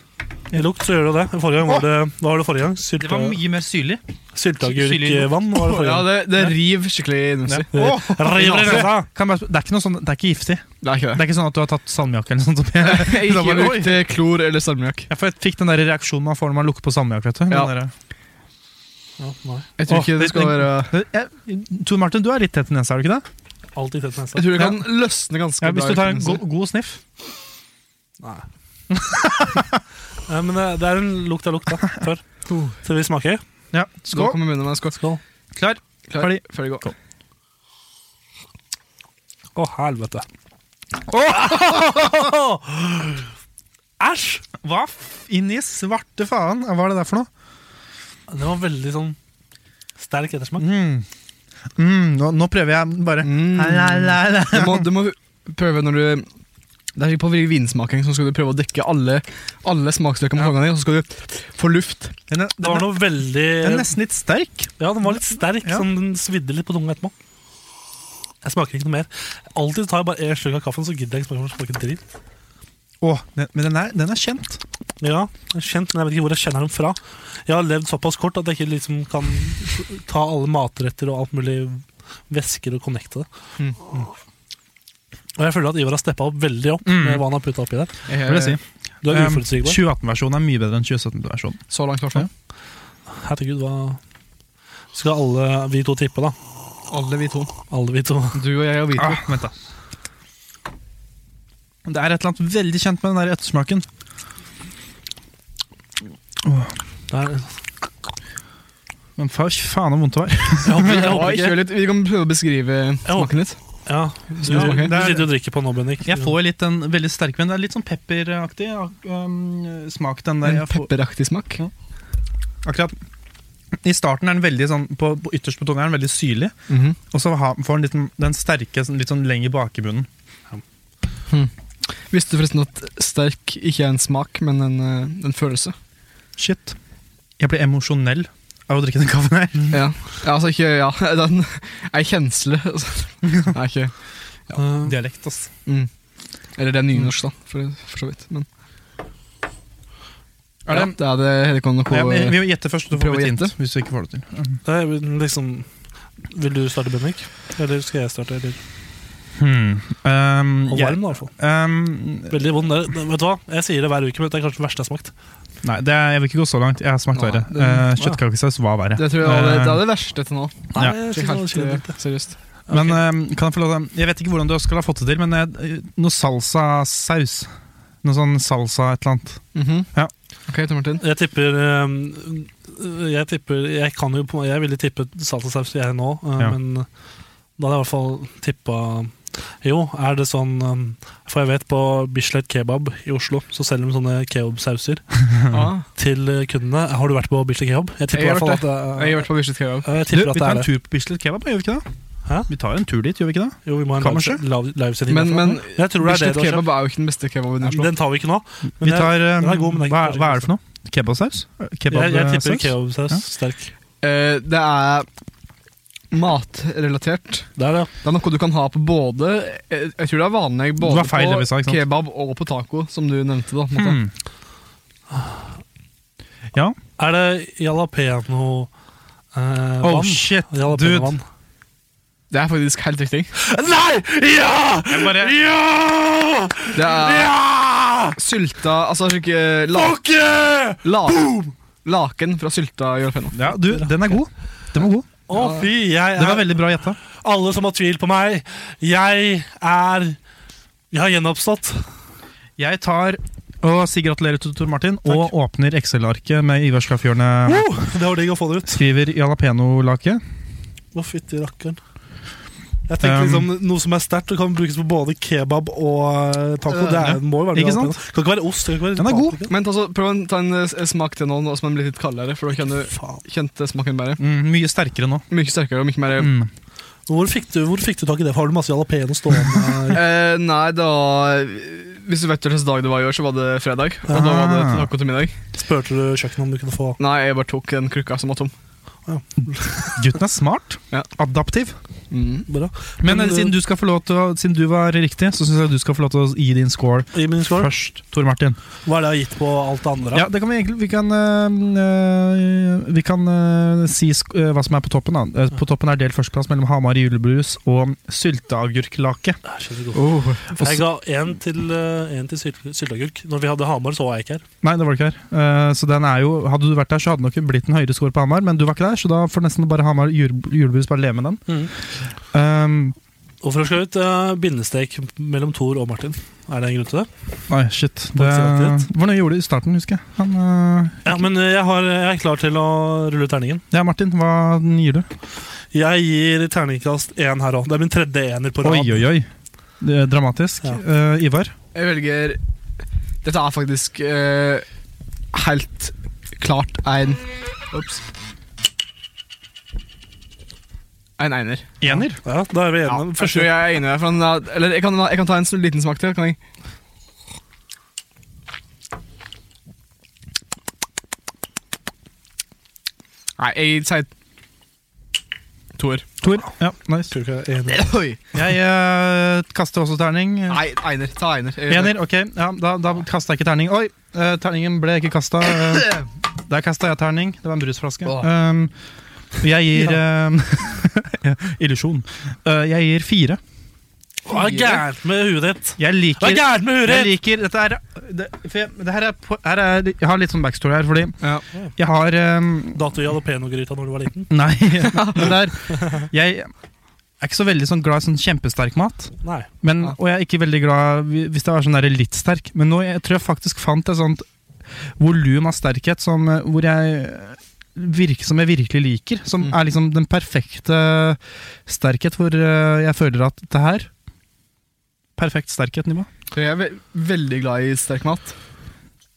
I lukt så gjør du det. Forrige gang var det, Hva var det forrige gang? Sylte,
Det var mye mer syrlig.
Sylteagurkvann var det forrige
Ja,
gang.
det, det riv skikkelig innunder.
Ja.
Åh!
*laughs*
River i nesa!
Kan jeg bare sp- Det er ikke noe sånn, det er ikke giftig.
Det er ikke
Det er ikke sånn at du har tatt salmiakk eller sånt.
*laughs*
Som jeg,
det.
Da
Ikke
bare, oi.
bruk til eh, klor eller salmiakk.
Ja, for jeg fikk den der reaksjonen man får når man lukter på salmiakk. vet du. Den
Ja.
der-
Ja, nei.
Jeg tror
Åh,
ikke det skal
den-
være
Jeg- Tor Martin, du er litt tett i nesa, er du ikke det?
Alltid tett nesa.
Jeg tror det kan løsne ganske
Ja, hvis
bra.
du tar en go god sniff.
Nei. Nei, men det, det er en lukt jeg har lukta
*laughs*
før. Så vi smaker.
Ja,
Skål.
Skål.
Kommer munnen med en skål.
Skål.
Klar,
Klar.
ferdig.
Ferdig, gå.
Å, helvete. Æsj!
Hva f- inn i svarte faen hva er det der for noe?
Det var veldig sånn sterk ettersmak.
Mm. Mm, nå, nå prøver jeg bare
Mm.
la, la, la, la.
Mm. Du må, du må prøve når du Det er ikke på vinsmaking, så skal du prøve å dekke alle, alle smaksløker med hånda di, og så skal du få luft.
Den er,
Det var
den er,
noe veldig
den er nesten litt sterk.
Ja, den var litt sterk,
Ja.
sånn den svidde litt på tunga etterpå. Jeg smaker ikke noe mer. Alltid tar jeg bare en slurk av kaffen, så gidder jeg ikke smake smake dritt.
Åh, den, men den er, den er kjent.
Ja, jeg er kjent, men jeg vet ikke hvor jeg kjenner den fra. Jeg har levd såpass kort at jeg ikke liksom kan ta alle matretter og alt mulig væsker og connecte det.
Mm.
Og jeg føler at Ivar har steppa opp veldig opp
Mm.
med hva han har putta oppi der.
Hva vil jeg si?
Du er
Um,
uforutsigbar.
2018-versjonen er mye bedre enn 2017-versjonen.
Så langt, i hvert fall.
Herregud, hva Skal alle vi to tippe, da?
Alle vi to.
Alle vi to.
Du og jeg og vi to.
Ah, vent da. Det er et eller annet veldig kjent med den der ettersmaken.
Det er,
Men fa- faen så vondt det var.
jeg håper, jeg
Ja,
håper ikke
kjør litt. Vi kan prøve å beskrive
håper-
smaken litt.
Ja, du,
Skal vi smake?
du sitter og drikker på nå, Bendik.
Jeg får litt den veldig sterke, men det er litt sånn pepperaktig ak- um, smak. den der.
En
Jeg får,
pepperaktig smak.
akkurat I starten er den veldig sånn, på, på ytterst på tunga er den veldig syrlig,
Mhm.
og så ha, får den litt, den- den sterke sånn- litt sånn lenger bak i bunnen.
Visste du forresten at sterk ikke er en smak, men en, eh, en følelse?
Shit. Jeg blir emosjonell av å drikke den kaffen her.
Ja. ja, altså ikke Ja, *laughs* den er en kjensle. *laughs* Altså. Nei, ikke
Uh,
Dialekt, ass.
mm. Eller det er nynorsk, da, for, for så vidt. Men
Er det,
ja, det er det Helikon og
ja, men vi må gjette først, så får
Prøv å
vi et hint.
gjette.
Hvis vi ikke får det til.
det er liksom Vil du starte, Bendik? Eller skal jeg starte? Eller?
Hmm. Um,
Og
jeg,
varm, da, i hvert fall.
um,
Veldig vond. Det- det- Vet du hva? Jeg sier det hver uke, men det er kanskje det verste jeg har smakt.
Nei, det er, jeg vil ikke gå så langt. Jeg har smakt
Nei,
verre.
det-
Eh, Kjøttkakesaus var verre.
Det tror jeg var det, det er det verste til nå.
Nei,
Ja.
jeg synes det
Ikke
var
helt,
kjedelig.
eh, seriøst.
Eh, Men eh, kan jeg få lov til Jeg vet ikke hvordan du skal ha fått det til, men eh, noe salsasaus. Noe sånn salsa et eller annet.
Mhm.
Ja.
Ok, Tor *laughs* Martin.
Jeg tipper eh, Jeg tipper Jeg kan jo på Jeg ville tippet salsasaus, jeg nå, eh,
Ja.
men da hadde jeg i hvert fall tippa Jo, er det sånn eh, For jeg vet på Bislett Kebab i Oslo, så selger de sånne kebabsauser
Ah,
til eh, kundene. Har du vært på Bislett Kebab? Jeg tipper i
Jeg
hvert
har
fall
vært
at det er
jeg har vært på Bislett Kebab.
Ja, Jeg
Du,
tipper
vi
at det
tar
er
en
det.
tur på Bislett Kebab, gjør vi ikke det?
Hæ?
Vi tar en tur dit, gjør vi ikke det?
Jo, vi må ha en
Kammerset?
live- live- livesending.
Men,
derfra.
men
jeg tror det er det
Bislett
det har skjedd.
Kebab er jo ikke den beste kebaben i Oslo.
Den tar vi ikke nå. Men
Vi
jeg-
tar, eh,
den er god, men den er
hva,
kanskje ikke
hva er det for noe? Kebabsaus?
jeg, jeg tipper
Kebabsaus?
kebabsaus.
Ja.
Sterk.
Eh, det er matrelatert.
Det er det.
Det er noe du kan ha på både eh, Jeg tror det er vanlig
Det
både
var feil det vi
på
sa, ikke sant?
kebab og på taco, som du nevnte. da på en måte.
Hmm. Ja.
Er det jalapeño eh,
Oh
vann?
shit,
Jalapeño
dude.
vann.
Det er faktisk helt riktig.
Nei! Ja!
Jeg bare-
Ja!
Det er sylta Altså ikke la,
Fuck yeah!
la, Laken fra sylta jølpenna.
Ja, du, den er god. Den var god.
Å, fy, jeg
Det var
er
veldig bra gjetta.
Alle som har tvil på meg, jeg er Jeg har gjenoppstått.
Jeg tar og sier gratulerer til Tor Martin, og åpner Excel-arket med Ivars Kaffehjørne.
Oh, *laughs* det var digg å få det ut.
Skriver jalapeno-lake.
Å, fytti rakkeren. Jeg tenker
Um,
liksom Noe som er sterkt og kan brukes på både kebab og eh, taco. Det er, må jo være
Ikke
det.
sant?
Kan ikke være ost. det Kan ikke være
Den er god.
paprika.
Men ta, så, prøv å ta en eh, smak til nå, nå som den blir litt kaldere. For da kan du kjente smaken bedre.
Mm, mye sterkere nå. Mm.
Mye sterkere og mye mer
Hvor fikk, du, hvor fikk du tak i det? Har du masse jalapeño *laughs* stående?
Eh, nei, da Hvis du vet hvilken dag det var i år, så var det fredag. Og da var det
Ah.
taco til middag.
Spurte du kjøkkenet om du kunne få
Nei, jeg bare tok den krukka som var tom.
Gutten er smart. Adaptiv.
Bra.
Men,
Men,
eh, siden, du skal få lov til å, siden du var riktig, så syns jeg du skal få lov til å gi din score,
Gi min score?
først, Tor Martin.
Hva er det jeg har gitt på alt det andre?
Ja, det kan vi egentlig Vi kan, eh, eh, vi kan eh, si sk eh, hva som er på toppen. Da. Eh, På toppen er delt førsteplass mellom Hamar julebrus og sylteagurklake.
Oh.
Og
Jeg
så-
ga én til, eh, en til syl- sylteagurk. Når vi hadde Hamar, så var jeg ikke her.
Nei, det var det ikke her. Eh, så den er jo, hadde du vært der, så hadde det nok blitt en høyere score på Hamar, men du var ikke der, så da får nesten bare Hamar jule, julebrus bare leve med den. Um,
Og for å slå ut eh, bindestek mellom Thor og Martin. Er det en grunn til det?
nei, shit. Det
Takk
det var noe jeg gjorde i starten, husker jeg. Han, eh,
Ja, men eh, jeg, har, jeg er klar til å rulle ut terningen.
ja, Martin, hva gir du?
Jeg gir terningkast én her òg. Det er min tredje ener på rad.
Oi, oi, oi. Det er dramatisk. Eh, Ivar?
Jeg velger Dette er faktisk eh, helt klart en Ops. En einer.
Ener?
Ja, da er vi enige.
jeg tror jeg er enig med deg. For han, er- eller jeg kan, jeg kan ta en sånn liten smak til. Kan jeg? Nei, jeg sier toer.
Tor? Ja, nice.
*laughs* Oi.
Jeg eh, kaster også terning.
Nei, einer. Ta einer. Jeg-
Ener, ok. Ja, da da kasta jeg ikke terning. Oi, eh, terningen ble ikke kasta. der kasta jeg terning. Det var en brusflaske.
Åh.
Um, jeg gir eh, *laughs* Illusjon. Eh, jeg gir fire.
Hva er gærent med huet ditt?
Jeg liker,
Hva er gærent med huet
jeg
ditt?
liker Dette er, det, for jeg, det her er, på- her er Jeg har litt sånn backstory her, fordi jeg har um,
Dato i jalapeño-gryta når du var liten?
*laughs* Nei, men det er Jeg er ikke så veldig sånn glad i sånn kjempesterk mat.
Nei.
Men, og jeg er ikke veldig glad hvi- hvis det er sånn der litt sterk, men nå jeg tror jeg faktisk fant et sånt volum av sterkhet som, eh, hvor jeg virker som jeg virkelig liker. Som er liksom den perfekte sterkhet hvor eh, jeg føler at det her Perfekt sterkhet-nivå.
Jeg er ve veldig glad i sterk mat.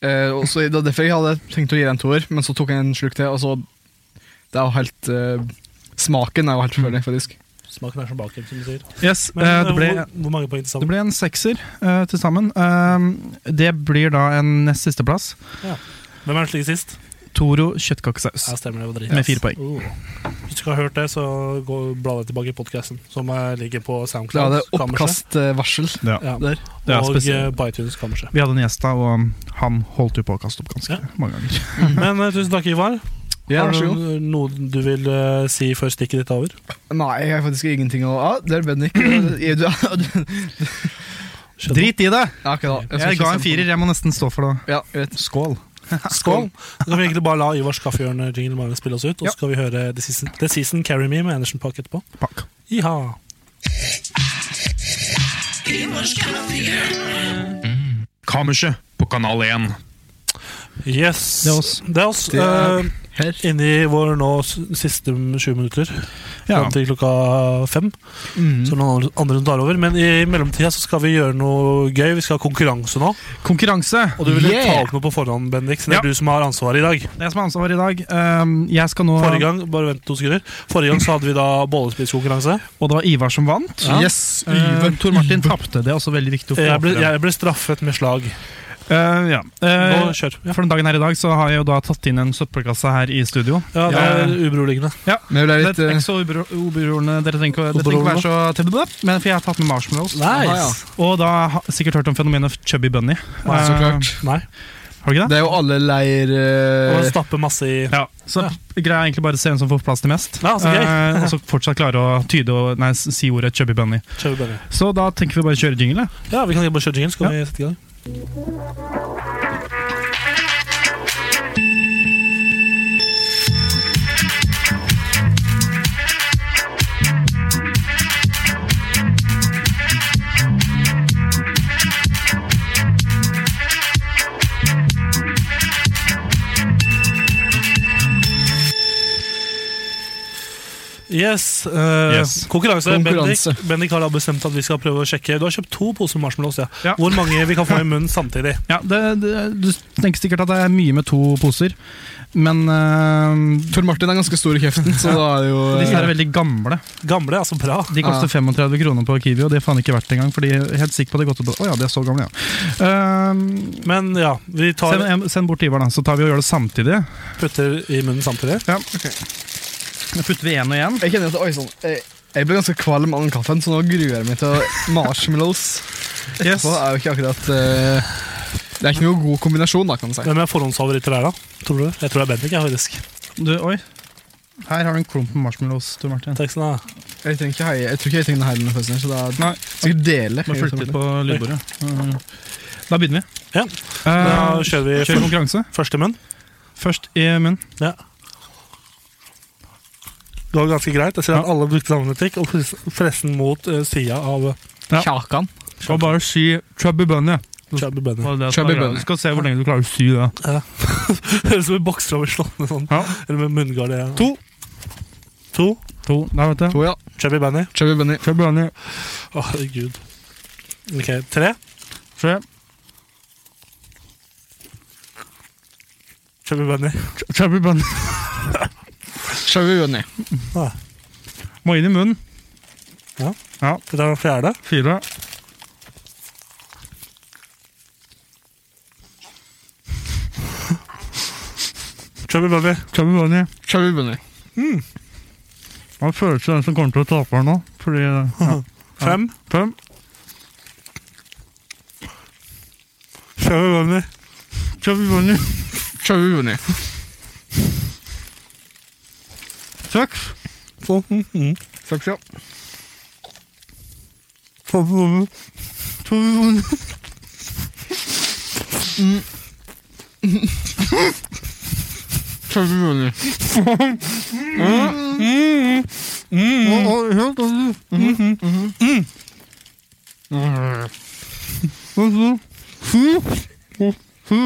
Eh, og så- det var derfor jeg hadde tenkt å gi deg en toer, men så tok jeg en slurk til. Og så Det er jo helt eh, Smaken er jo helt forfølgelig, faktisk.
Smaken er som baken, som du sier.
Yes,
Men,
eh, det
eh,
ble-
hvor, hvor mange poeng til
Det
sammen?
ble en sekser eh, til sammen. Eh, det blir da en nest sisteplass.
Ja. Hvem er den slik sist?
Toro kjøttkakesaus.
Ja, stemmer det var drit.
Med fire poeng.
Oh. Hvis du ikke har hørt det, så gå bla deg tilbake i podkasten, som eh, ligger på
Det
SoundCloud.
hadde oppkastvarsel
Ja.
der.
Det er
Og eh,
spesielt.
på iTunes-kammerset.
Vi hadde en gjest da, og um, han holdt jo på å kaste opp ganske mange ganger.
Men eh, tusen takk, Ivar.
Ja,
har
vær så
du noe du vil eh, si før stikket ditt er over?
Nei, jeg har faktisk ingenting å ah, Der er Bendik. Eh, du- *laughs*
Drit i det!
Ja, ok da.
Jeg,
skal ikke
ga
stemme
en
på
firer, jeg må nesten stå for det.
Ja, jeg vet.
Skål.
Skål! Da kan vi egentlig bare la Ivars kaffehjørne-jingle bare spille oss ut, og så skal vi høre The Season, The Season Carry Me med Andersen Park etterpå. Iha.
Kammerset på Kanal 1.
Yes.
Det er oss.
Det er oss.
Det er
eh, inni vår nå s- siste m- sju minutter.
Ja.
Fram til klokka fem.
Mhm.
Så noen andre- andre som tar over. Men i mellomtida så skal vi gjøre noe gøy. Vi skal ha konkurranse nå.
Konkurranse!
Og du ville
Yeah!
ta opp noe på forhånd, Bendik. Så det er
Ja.
du som har ansvaret i dag.
Det er jeg som har ansvaret i dag. Um, jeg skal nå
Forrige gang bare vent to sekunder Forrige gang så hadde vi da bollespisekonkurranse.
Og det var Ivar som vant.
Ja. Yes,
Eh,
Uh,
Ivar.
Tor Martin tapte. Det er også veldig viktig å få
Jeg ble,
frem.
jeg ble straffet med slag.
Uh, ja.
Nå
Uh,
kjør.
For den dagen her i dag så har jeg jo da tatt inn en søppelkasse her i studio.
Ja, det er uberoliggende.
Ja.
Men jeg ble litt,
det er
eh,
ikke så ubero- uberoende. Dere trenger ikke, dere trenger ikke være så tebbe, men for jeg har tatt med
Ah,
marshmallows.
Nice.
Og da har jeg sikkert hørt om fenomenet Chubby Bunny.
Nei,
Eh,
Nei.
Har du ikke det?
Det er jo alle leir
Og
eh,
stappe masse i
Ja, så greia er egentlig bare å se hvem som får plass til mest.
Ja, så gøy.
Eh, og så fortsatt klare å tyde og nei, s- si ordet 'chubby bunny'.
Kjør bare.
Så da tenker vi bare å kjøre jingle.
Ja, vi kan bare kjøre jingle, så kan vi sette i gang. Yes. eh,
Yes.
Konkurranse.
Konkurranse.
Bendik, Bendik har da bestemt at vi skal prøve å sjekke. Du har kjøpt to poser marshmallows. Ja. Hvor mange vi kan få i munnen samtidig.
Ja, det, det, Du tenker sikkert at det er mye med to poser, men eh,
Tor Martin er ganske stor i kjeften, så da er det jo eh,
Disse her er veldig gamle.
Gamle, altså bra.
De koster 35 kroner på Kiwi, og det er faen ikke verdt det engang. For de er helt sikker på at det er godt å Å ja, de er så gamle, ja. Ehm,
Men ja, vi tar
send, em, send bort Ivar, da, så tar vi og gjør det samtidig.
putter i munnen samtidig.
Ja. Da putter vi én og én.
Jeg kjenner at, oi, sånn, jeg, jeg ble ganske kvalm av den kaffen, så nå gruer jeg meg til å- marshmallows.
Yes.
Etterpå er jo ikke akkurat eh, Det er ikke noe god kombinasjon, da, kan du si.
Hvem er forhåndsfavoritter der, da? Tror du? Jeg tror det er Bendik. Jeg, faktisk.
Du, oi. Her har du en klump med marshmallows, Tor Martin.
Takk skal du ha.
Jeg, trenger ikke hei, jeg tror ikke jeg trenger den heilen, forresten, så da skal vi dele.
Bare fulgt litt på lydbordet. Mm. Da begynner vi.
Ja.
Eh,
Da kjører vi
Kjører konkurranse.
Først i munn.
Først i munn.
Ja. Det var ganske greit. Jeg ser at alle brukte samme metodikk, og pres- presse den mot uh, sida av
Ja.
Kjakan.
Og bare si 'chubby bunny'.
Chubby Bunny.
Og det
Chubby
skal-
bunny.
Skal se hvor lenge du klarer å si det.
*laughs* Høres ut som vi bokser over slåttene sånn.
Ja.
Eller med munngard. Ja. To. To.
To. Der, vet du.
To, ja.
Chubby Bunny.
Chubby Bunny.
Chubby bunny.
Å, herregud. Ok, tre.
Tre.
Chubby Bunny.
Ch- Chubby bunny.
Chubby Bunny.
Ah,
Må inn i munnen.
Ja.
Ja.
Dette er den fjerde.
Fire.
Chubby Bunny.
Chubby bunny.
Chubby Bunny.
Han føler seg den som kommer til å tape her nå. Fordi eh, ja.
Fem.
Fem.
Chubby Bunny.
Chubby bunny.
Chubby Bunny.
Seks.
Sånn. Mm -hmm.
Saks, ja.
Chubby Bunny.
Chubby bunny.
Mm. Chubby Bunny. Mm.
Å, å,
Mm.
helt annerledes. Og så- Fu. Fu.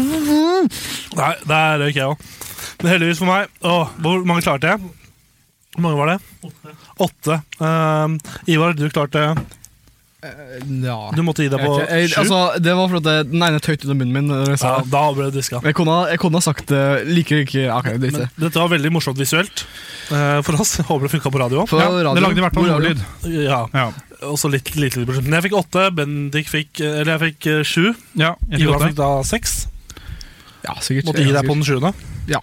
Nei, der røyk jeg òg. Men heldigvis for meg Åh, Hvor mange klarte jeg? Hvor mange var det? Åtte. Ehm, Ivar, du klarte
Eh, Ja.
Du måtte gi deg
Jeg
på
vet ikke. Jeg,
sju.
altså, det var fordi den ene tøyte ut av munnen min. Når jeg, sa.
ja, da ble det diska.
det. jeg, kunne, ha- jeg kunne ha eh, sagt det like ikke okay, det er
Men
ikke.
dette var veldig morsomt visuelt eh, for oss. Håper det funka på radio òg.
På
Ja, det
radio-
lagde i hvert fall
på
noe
radio.
lyd.
Ja,
Ja.
og så litt lite lyd på slutten. Jeg fikk åtte, Bendik fikk eh, Eller jeg fikk eh, sju.
ja jeg fikk
Ivar
åtte.
fikk da seks.
Ja, sikkert.
Måtte gi
Ja,
deg på
sikkert.
den sjuende.
Ja.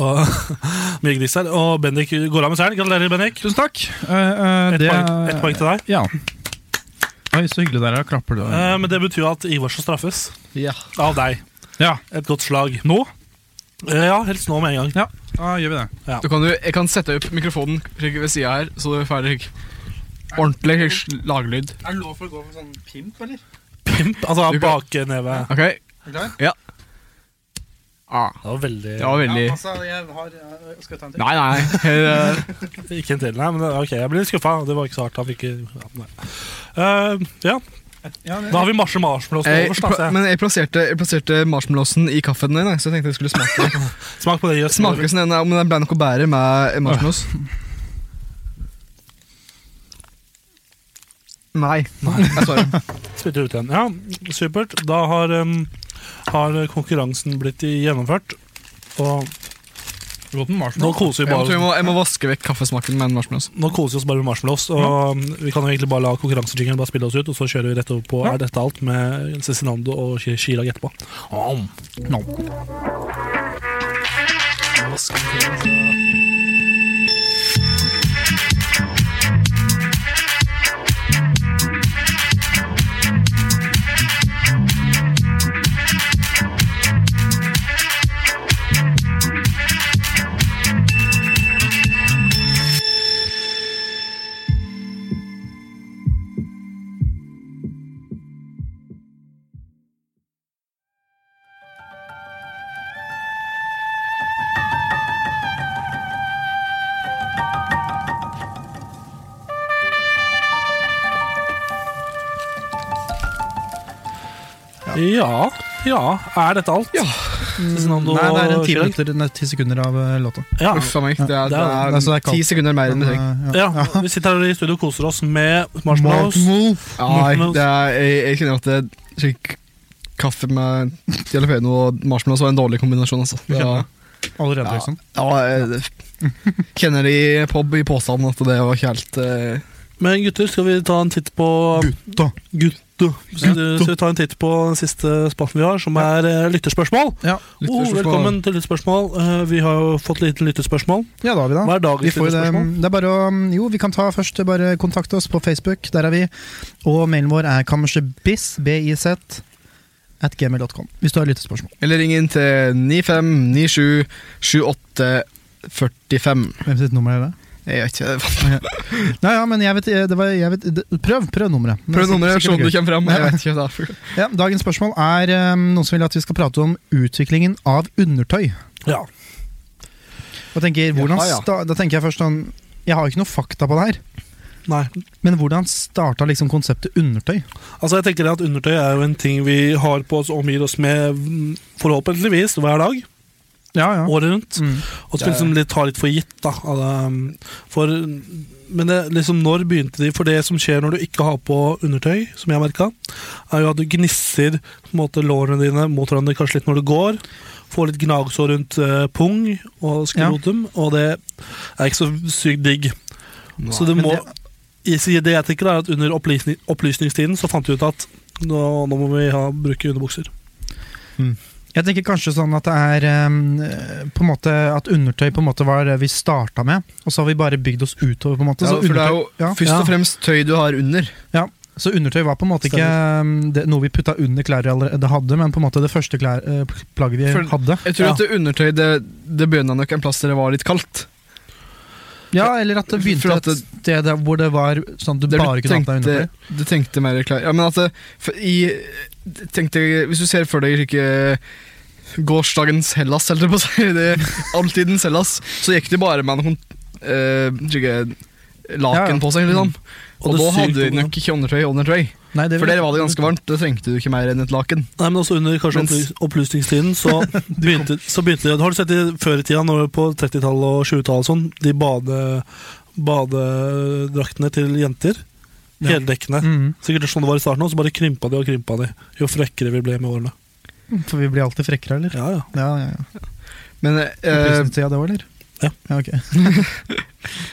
Og, *laughs* mye gris her. Og Bendik går av med seieren. Gratulerer, Bendik.
Tusen takk. Eh, eh,
Ett
det-
poeng, ett poeng til deg.
Ja. Oi, så hyggelig dere klapper. Du.
Eh, men det betyr at Ivar skal straffes.
Ja.
Av deg.
Ja.
Et godt slag. Nå? Eh, Ja, helst nå med en gang.
ja, da gjør vi det.
Da kan du, jeg kan sette opp mikrofonen rygg ved sida her, så du er ferdig. Ordentlig laglyd.
Er det lov for å gå for sånn pimp, eller?
Pimp, altså
Du kan-
bakneve.
Ok? Ja. Ah,
Det var veldig
det var veldig
altså, jeg har eh, Skal jeg ta en
Nei, nei. her, eh,
Ikke en til, nei, men det- ok, jeg ble litt skuffa. Det var ikke så hardt. Han fikk ikke- ja, nei. Eh, ja, da har vi marsje marshmallows
Jeg,
øverst. da, ser jeg.
Eh, men jeg plasserte, jeg plasserte marshmallowsen i kaffen din, så jeg tenkte jeg skulle smake.
Smak på det. Jøss.
Smaker det som den er, om den ble noe bedre med marshmallows. Nei. Jeg svarer.
Spytter ut igjen. Ja, supert. Da har, em, har konkurransen blitt gjennomført. Og Nå koser vi
Jeg må,
bare
jeg må, jeg må vaske vekk kaffesmaken med en marshmallows.
Nå koser vi oss bare med marshmallows. Og um, Vi kan jo egentlig bare la konkurransejingeren bare spille oss ut, og så kjører vi rett over på Er dette alt? med Cezinando og Sh- Chirag etterpå. Ja. ja. Er dette alt? Ja. Cezinando
Nei, det er en
og
ti,
Chirag.
minutter, nei, ti sekunder av eh, låta.
Ja. Uff a meg, det er- det er-
så altså, kaldt.
ti sekunder mer enn vi
Men, eh, ja.
Ja, Vi sitter her i studio og koser oss med marshmallows.
Nei,
Marshmallows.
det er, jeg, jeg kjenner at det, slik, kaffe med jalapeno og marshmallows var en dårlig kombinasjon. Altså. Det var-
Allerede,
ja,
liksom.
ja, jeg kjenner i, på, i påstanden at det var ikke helt eh,
Men gutter, skal vi ta en titt på Gutta! Skal, du- skal vi ta en titt på den siste spalten vi har, som er eh, lytterspørsmål?
lytterspørsmål.
Oh, velkommen til lytterspørsmål. Eh, vi har jo fått litt lytterspørsmål.
Ja, da har vi da.
Hva er dagens
vi får eh, jo det,
lytterspørsmål?
det er bare å, mm, jo, vi kan ta først bare kontakte oss på Facebook, der er vi. Og mailen vår er kammersebiz, B-I-Z, at gmail.com. Hvis du har lyttespørsmål.
Eller ring inn til 95977845.
Hvem sitt nummer er det?
Jeg vet ikke.
Nei, ja, men jeg vet, det var, jeg vet det, Prøv, prøv nummeret. Men
Prøv
det er
nummeret, se om
sikkert-
du
sikkert gøy.
kommer fram.
Ja.
Jeg vet ikke hva det er.
Ja, dagens spørsmål er um, noen som vil at vi skal prate om utviklingen av undertøy.
Ja.
Og tenker, hvordan
Jaha, ja.
sta, da tenker jeg først sånn Jeg har jo ikke noe fakta på det her.
Nei.
Men hvordan starta liksom konseptet undertøy?
Altså jeg tenker at Undertøy er jo en ting vi har på oss og omgir oss med mm, forhåpentligvis hver dag. Året rundt.
Mm.
Og så liksom litt, ta litt for gitt. da av det, um, for, Men det, liksom når begynte de? For det som skjer når du ikke har på undertøy, som jeg merka, er jo at du gnisser på en måte, lårene dine mot hverandre kanskje litt når du går. Får litt gnagsår rundt eh, pung og skrotum, og det er ikke så sykt digg. Så det
men
må
det-
jeg sier det jeg tenker er at Under opplysning, opplysningstiden så fant vi ut at nå, nå må vi ha, bruke underbukser.
Jeg tenker kanskje sånn at det er um, på en måte at undertøy på en måte var det vi starta med, og så har vi bare bygd oss utover. på en måte
Ja,
så
for det er jo
undertøy- ja.
først og fremst tøy du har under.
Ja, så undertøy var på en måte ikke um, det, noe vi putta under klær vi allerede hadde, men på en måte det første klær, eh, plagget vi
For
hadde.
Jeg tror at det undertøy det, det begynner nok en plass der det var litt kaldt.
Ja, eller at det begynte
For at
et sted der hvor det var sånn at du
Der
bare kunne hatt deg
tenkte-
undertøy.
Du tenkte mer klær Ja, men at det, for i, tenkte, Hvis du ser for deg ikke gårsdagens Hellas, holdt jeg på å si, *laughs* det, alltidens Hellas, så gikk de bare med noen eh, slike
Ja,
laken
ja. Mm.
på seg, liksom. Og,
Og det
da
sykt
hadde de
varmt.
nok ikke undertøy under tøy.
Nei, det
For
vil-
der var det ganske varmt, da trengte du ikke mer enn et laken.
Nei, men også under kanskje
Mens-
opply- opplysningstiden *laughs* så begynte, så begynte det Har du sett i før i tida, når på 30-tallet og 20-tallet og sånn, de bade, badedraktene til jenter?
Ja.
Heldekkende.
Mhm.
Sikkert sånn det var i starten òg, så bare krympa de og krympa de. Jo frekkere vi ble med årene.
For vi blir alltid frekkere, eller?
Ja, ja.
ja, ja, ja.
Men eh,
Opplysningstida det var, eller?
Ja.
ok.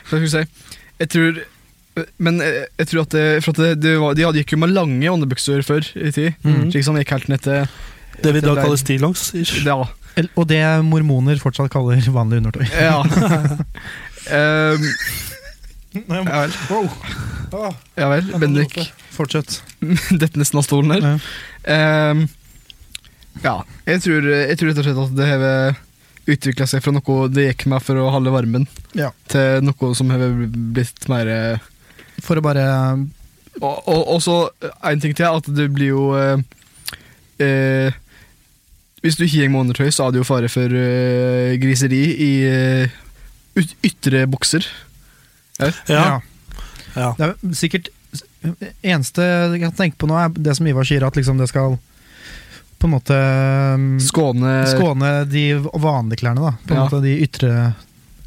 Hva skal jeg si? Jeg tror Men jeg, jeg tror at det, For at det, det var, de hadde gikk jo med lange underbukser før i tid.
Mhm.
Slik som gikk helt ned til
Det vi i
til
dag
der.
kaller stillongs. ish.
Ja.
El- Og det mormoner fortsatt kaller vanlig undertøy.
ja. Ehm, ja vel. Ja vel, Bendik.
Fortsett.
*laughs*
Eh,
Dette nesten av stolen her. Ehm, ja. Jeg tror, jeg tror rett og slett at det har utvikla seg fra noe det gikk med for å holde varmen,
Ja.
til noe som har blitt mer eh,
For å bare
Og, og, og så eh, en ting til, at det blir jo eh, eh, Hvis du ikke går med undertøy, så er det jo fare for eh, griseri i eh, yt ytre bukser. Ja.
Ja. Ja.
Det er sikkert Eneste jeg kan tenke på nå, er det som Ivar sier, at liksom det skal på en måte um,
Skåne
Eh, skåne de vanlige klærne, da. På en
Ja.
måte de ytre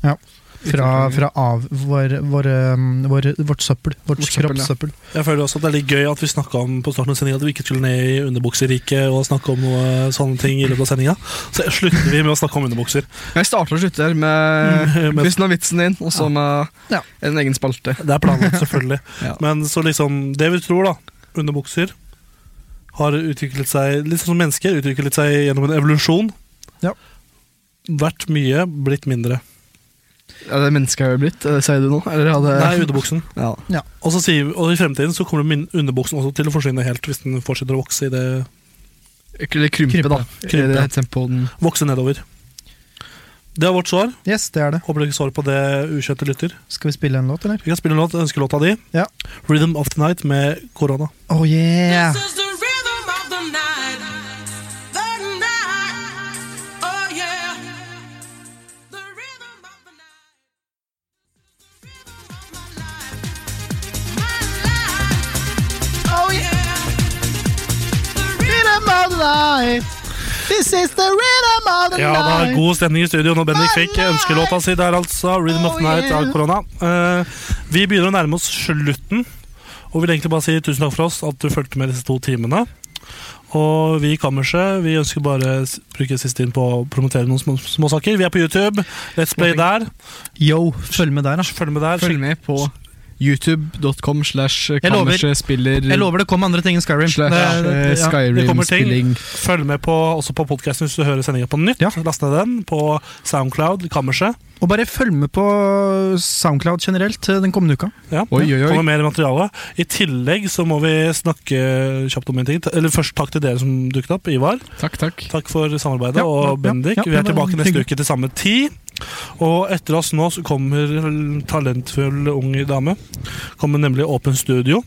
Ja. fra, fra av vår, vår, um, vår, vårt søppel. Vårt,
Vårt søppel, ja.
kroppssøppel.
Jeg føler også at det er litt gøy at vi snakka om på starten av sendingen at vi ikke skulle ned i underbukseriket og snakke om noe sånne ting i løpet av sendinga. Så slutter vi med å snakke om underbukser.
Jeg starter og slutter med resten av vitsen din, og så med en egen spalte.
Det er
*laughs*
planlagt, selvfølgelig. Men så liksom Det vi tror, da, underbukser, har utviklet seg litt sånn som mennesker, utviklet seg gjennom en evolusjon.
Ja.
Vært mye, blitt mindre.
Er det mennesket jeg har blitt, eh, sier du nå? Eller hadde...
Eh.
Nei, underbuksen.
Ja.
Og, så sier vi, og i fremtiden så kommer min underbuksen også til å forsvinne helt, hvis den fortsetter å vokse i det
Eller krympe, da. I det tempoen.
Vokse nedover. Det er vårt svar.
Yes, det er det.
Håper dere ikke svarer på det, ukjente lytter.
Skal vi spille en låt, eller?
Vi kan spille en låt, ønskelåta di.
Ja.
'Rhythm of the Night' med korona.
Oh yeah!
Oh, Oh yeah. The rhythm of life. This is the rhythm of the
Ja, det
night.
er god stemning i studio når Bendik fikk ønskelåta si der, altså. 'Rhythm of the Night' av korona. Eh, vi begynner å nærme oss slutten, og vil egentlig bare si tusen takk for oss at du fulgte med disse to timene. Og vi i Kammerset vi ønsker bare s- bruke siste tiden på å promotere noen små, småsaker. Vi er på YouTube. Let's play der.
Yo, følg med der, da.
Følg med der.
Følg med på youtube.com slash
Jeg lover-
kammersetspiller
Jeg lover det kommer andre ting enn Skyrim.
Slash,
Det-
eh,
det- ja.
Skyrim.
Det kommer ting.
spilling.
Følg med på, også på podkasten hvis du hører sendinga på nytt. Last ned den på Soundcloud, Kammerset.
Og bare følg med på Soundcloud generelt eh, den kommende uka.
Ja,
Oi, oi, oi.
kommer mer materiale. I tillegg så må vi snakke kjapt om en ting. Eller først takk til dere som dukket opp. Ivar.
Takk, takk.
for samarbeidet.
Ja, ja,
og Bendik.
ja, ja,
vi
det
er
var
tilbake neste
hyggelig.
uke til samme tid. Og etter oss nå så kommer en talentfull ung dame. Kommer nemlig Åpen Studio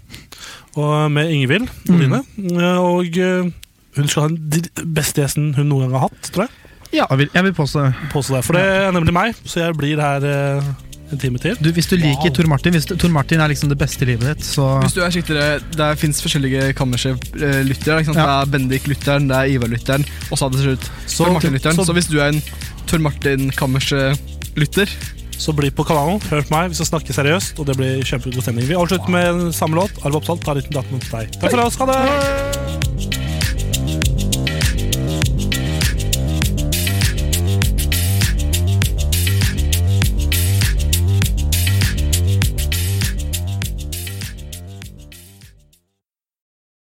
og med Ingvild
Mm.
Oline. Og eh, hun skal ha den dri- beste gjesten hun noen gang har hatt, tror jeg.
Ja, jeg vil, jeg vil påstå det.
Påstå det, For det er nemlig meg, så jeg blir her eh, en time til.
Du, hvis du liker Tor Martin Hvis du, Tor Martin er liksom det beste i livet ditt, så
Hvis du er skikkelig, Det fins forskjellige eh, kammerset-lyttere. Det
Ja.
er Bendik-lytteren, det er Ivar-lytteren, og så er det til slutt Tor Martin-lytteren.
så-
Så, hvis du er en Tor Martin-kammerset-lytter
Så bli på kanalen, hør på meg, vi skal snakke seriøst, og det blir kjempegod stemning. Vi avslutter med en samme låt. Arve Oppsal tar uten datten mot deg. Takk for oss, ha det!